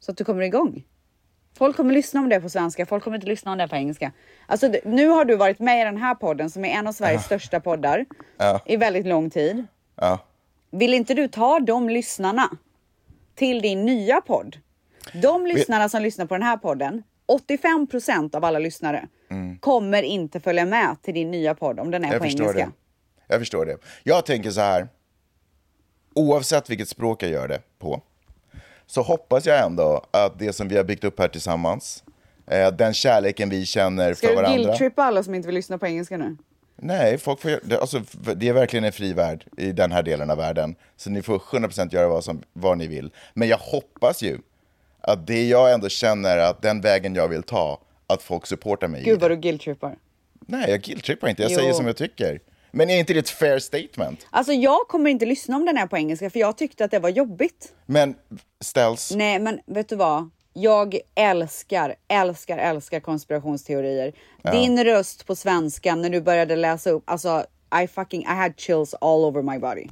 [SPEAKER 1] Så att du kommer igång. Folk kommer lyssna om det på svenska, folk kommer inte lyssna om det på engelska. Alltså, d- nu har du varit med i den här podden som är en av Sveriges största poddar i väldigt lång tid.
[SPEAKER 2] Ja.
[SPEAKER 1] Vill inte du ta de lyssnarna till din nya podd? De lyssnarna som lyssnar på den här podden, 85 procent av alla lyssnare, kommer inte följa med till din nya podd om den är
[SPEAKER 2] Mm. jag
[SPEAKER 1] på
[SPEAKER 2] förstår
[SPEAKER 1] engelska.
[SPEAKER 2] Det. Jag förstår det. Jag tänker så här. Oavsett vilket språk jag gör det på så hoppas jag ändå att det som vi har byggt upp här tillsammans, eh, den kärleken vi känner
[SPEAKER 1] Ska
[SPEAKER 2] för
[SPEAKER 1] du
[SPEAKER 2] varandra.
[SPEAKER 1] guilt-trippa alla som inte vill lyssna på engelska nu?
[SPEAKER 2] Nej, folk får, gö- det- alltså, f- det är verkligen en fri värld i den här delen av världen. Så ni får 100% göra vad, som, vad ni vill. Men jag hoppas ju att det jag ändå känner att den vägen jag vill ta, att folk supportar mig. i
[SPEAKER 1] Gud vad
[SPEAKER 2] det.
[SPEAKER 1] du guilt-trippar.
[SPEAKER 2] Nej, jag guilt-trippar inte. Jag
[SPEAKER 1] Jo.
[SPEAKER 2] säger som jag tycker. Men är inte det ett fair statement?
[SPEAKER 1] Alltså jag kommer inte lyssna om den är på engelska för jag tyckte att det var jobbigt.
[SPEAKER 2] Men ställs...
[SPEAKER 1] Nej men vet du vad? Jag älskar, älskar, älskar konspirationsteorier. Din röst på svenska när du började läsa upp, alltså I fucking, I had chills all over my body.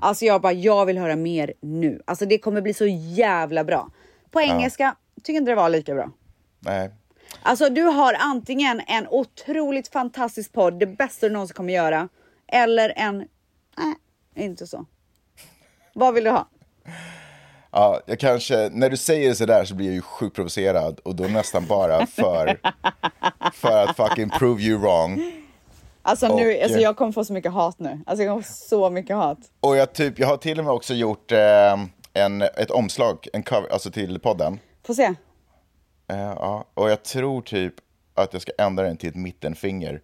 [SPEAKER 1] Alltså jag bara, jag vill höra mer nu. Alltså det kommer bli så jävla bra. På engelska tycker inte det var lika bra.
[SPEAKER 2] Nej.
[SPEAKER 1] Alltså du har antingen en otroligt fantastisk podd, det bästa du någonsin kommer göra, eller en... Nej, inte så. Vad vill du ha?
[SPEAKER 2] Ja, jag kanske, när du säger det sådär så blir jag ju sjukt provocerad och då nästan
[SPEAKER 1] [LAUGHS]
[SPEAKER 2] bara för, för att fucking prove you wrong.
[SPEAKER 1] Alltså, nu,
[SPEAKER 2] Och,
[SPEAKER 1] alltså
[SPEAKER 2] eh,
[SPEAKER 1] jag kommer få så mycket hat nu. Alltså jag kommer få så mycket hat.
[SPEAKER 2] Och jag, typ, jag har till och med också gjort eh, en, ett omslag, en cover, alltså till podden.
[SPEAKER 1] Få se.
[SPEAKER 2] Eh, ja, och jag tror typ att jag ska ändra den till ett mittenfinger.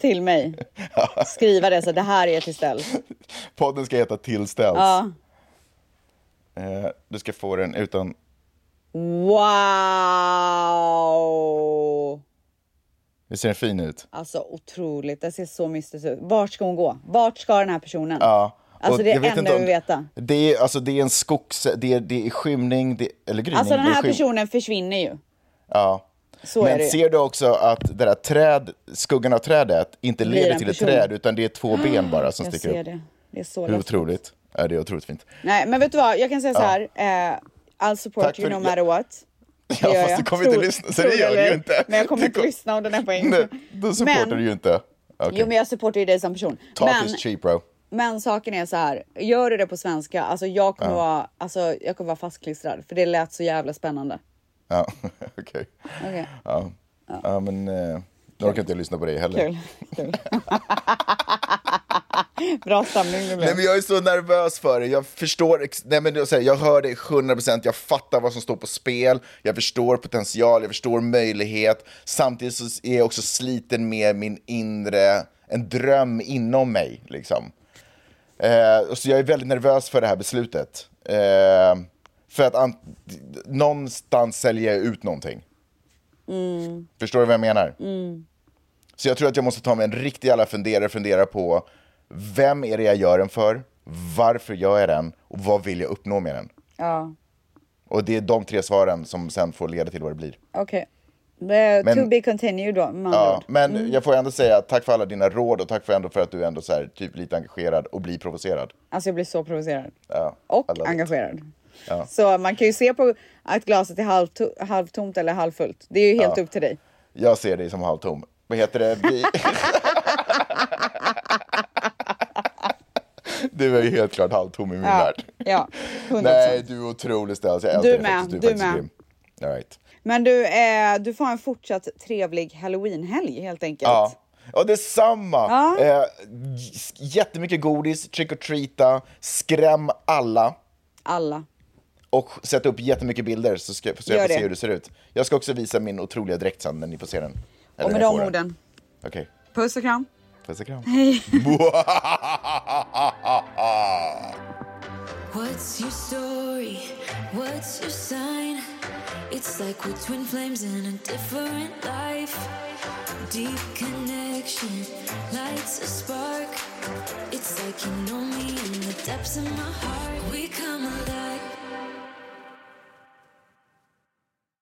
[SPEAKER 1] Till
[SPEAKER 2] [LAUGHS]
[SPEAKER 1] mig. Skriva det så det här är till ställ.
[SPEAKER 2] Podden ska heta Tillställs.
[SPEAKER 1] Ja.
[SPEAKER 2] Eh, du ska få den utan...
[SPEAKER 1] Wow!
[SPEAKER 2] Visst ser den fin ut?
[SPEAKER 1] Alltså otroligt. Det ser så mystiskt ut. Vart ska hon gå? Vart ska den här personen?
[SPEAKER 2] Ja.
[SPEAKER 1] Alltså
[SPEAKER 2] och
[SPEAKER 1] det är
[SPEAKER 2] jag vet
[SPEAKER 1] enda
[SPEAKER 2] inte om-
[SPEAKER 1] vi veta.
[SPEAKER 2] Det är, alltså, det är en skogs... Det är, det är skymning, det, eller gryning.
[SPEAKER 1] Alltså den
[SPEAKER 2] det är
[SPEAKER 1] här
[SPEAKER 2] skym-
[SPEAKER 1] personen försvinner ju.
[SPEAKER 2] Ja.
[SPEAKER 1] Så är
[SPEAKER 2] Men
[SPEAKER 1] det ju.
[SPEAKER 2] ser du också att det där träd, skuggan av trädet inte
[SPEAKER 1] Blir
[SPEAKER 2] leder
[SPEAKER 1] en
[SPEAKER 2] till ett
[SPEAKER 1] person.
[SPEAKER 2] träd utan det är två ben bara som
[SPEAKER 1] [GASPS] Jag
[SPEAKER 2] sticker
[SPEAKER 1] ser
[SPEAKER 2] upp.
[SPEAKER 1] det. Det är så
[SPEAKER 2] Hur
[SPEAKER 1] läskigt.
[SPEAKER 2] otroligt? Ja, det är otroligt fint.
[SPEAKER 1] Nej, men vet du vad? Jag kan säga så här. Eh, I'll support
[SPEAKER 2] Tack
[SPEAKER 1] you
[SPEAKER 2] för-
[SPEAKER 1] no matter what. Det
[SPEAKER 2] Ja,
[SPEAKER 1] gör
[SPEAKER 2] fast
[SPEAKER 1] jag.
[SPEAKER 2] du kommer inte
[SPEAKER 1] Tror-
[SPEAKER 2] lyssna, så
[SPEAKER 1] tror
[SPEAKER 2] det gör du
[SPEAKER 1] eller
[SPEAKER 2] ju
[SPEAKER 1] ej,
[SPEAKER 2] inte.
[SPEAKER 1] Men jag kommer
[SPEAKER 2] Du
[SPEAKER 1] inte
[SPEAKER 2] kom-
[SPEAKER 1] lyssna om den är på
[SPEAKER 2] [LAUGHS] Nej,
[SPEAKER 1] engelska.
[SPEAKER 2] då supportar
[SPEAKER 1] Men-
[SPEAKER 2] du ju inte. Okay.
[SPEAKER 1] Jo, men jag supportar ju dig som person.
[SPEAKER 2] Talk
[SPEAKER 1] men,
[SPEAKER 2] is cheap bro.
[SPEAKER 1] men saken är så här. Gör du det på svenska, alltså jag kommer, vara, alltså, jag kommer vara fastklistrad. För det lät så jävla spännande.
[SPEAKER 2] Ja, [LAUGHS] okej.
[SPEAKER 1] Okej,
[SPEAKER 2] Ja. ja, men eh, nu orkar inte jag lyssna på dig heller.
[SPEAKER 1] kul. kul. [LAUGHS] Bra stämning det blev.
[SPEAKER 2] Nej men jag är så nervös för det, jag förstår, ex- nej men jag säger, jag hör dig 100%, jag fattar vad som står på spel, jag förstår potential, jag förstår möjlighet, samtidigt så är jag också sliten med min inre, en dröm inom mig liksom. Eh, och så jag är väldigt nervös för det här beslutet. Eh, för att an- någonstans säljer jag ut någonting. Förstår du vad jag menar? Så jag tror att jag måste ta mig en riktig jävla funderare och fundera på vem är det jag gör den för, varför gör jag den och vad vill jag uppnå med den?
[SPEAKER 1] Ja,
[SPEAKER 2] Och det är de tre svaren som sen får leda till vad det blir.
[SPEAKER 1] okej. Okay.
[SPEAKER 2] Men-
[SPEAKER 1] To be continued då, med andra
[SPEAKER 2] Ja,
[SPEAKER 1] ord.
[SPEAKER 2] men jag får ändå säga tack för alla dina råd och tack för, ändå för att du är ändå så här, typ lite engagerad och blir provocerad.
[SPEAKER 1] Alltså jag blir så provocerad.
[SPEAKER 2] Ja, I
[SPEAKER 1] Och
[SPEAKER 2] love it.
[SPEAKER 1] engagerad. Så man kan ju se på att glaset är halvto- halvtomt eller halvfullt. Det är ju helt upp till dig.
[SPEAKER 2] Jag ser dig som halvtom. Vad heter det? Vi... [LAUGHS] du är ju helt klart halvtom i min
[SPEAKER 1] Ja,
[SPEAKER 2] värld.
[SPEAKER 1] ja 100%.
[SPEAKER 2] Nej, du är otrolig Stelz. Jag älskar
[SPEAKER 1] Du
[SPEAKER 2] dig
[SPEAKER 1] med,
[SPEAKER 2] faktiskt.
[SPEAKER 1] du
[SPEAKER 2] är faktiskt
[SPEAKER 1] med.
[SPEAKER 2] grym. All right.
[SPEAKER 1] Men du, eh, du får ha en fortsatt trevlig halloweenhelg helt enkelt.
[SPEAKER 2] Ja. Ja, detsamma!
[SPEAKER 1] Ja.
[SPEAKER 2] Eh, j- jättemycket godis, trick or treata, skräm alla
[SPEAKER 1] Alla.
[SPEAKER 2] och sätt upp jättemycket bilder så, ska, så
[SPEAKER 1] Gör
[SPEAKER 2] jag får
[SPEAKER 1] det.
[SPEAKER 2] se hur det ser ut. Jag ska också visa min otroliga dräkt sen när ni får se den. Eller
[SPEAKER 1] Och med
[SPEAKER 2] när jag
[SPEAKER 1] de
[SPEAKER 2] får den.
[SPEAKER 1] orden.
[SPEAKER 2] Okej,
[SPEAKER 1] Puss och kram.
[SPEAKER 2] puss
[SPEAKER 1] [LAUGHS]
[SPEAKER 2] och kram. [LAUGHS]
[SPEAKER 3] What's your story? What's your sign? It's like we're twin flames in a different life. Deep connection lights a spark. It's like you know me in the depths of my heart. We come alive.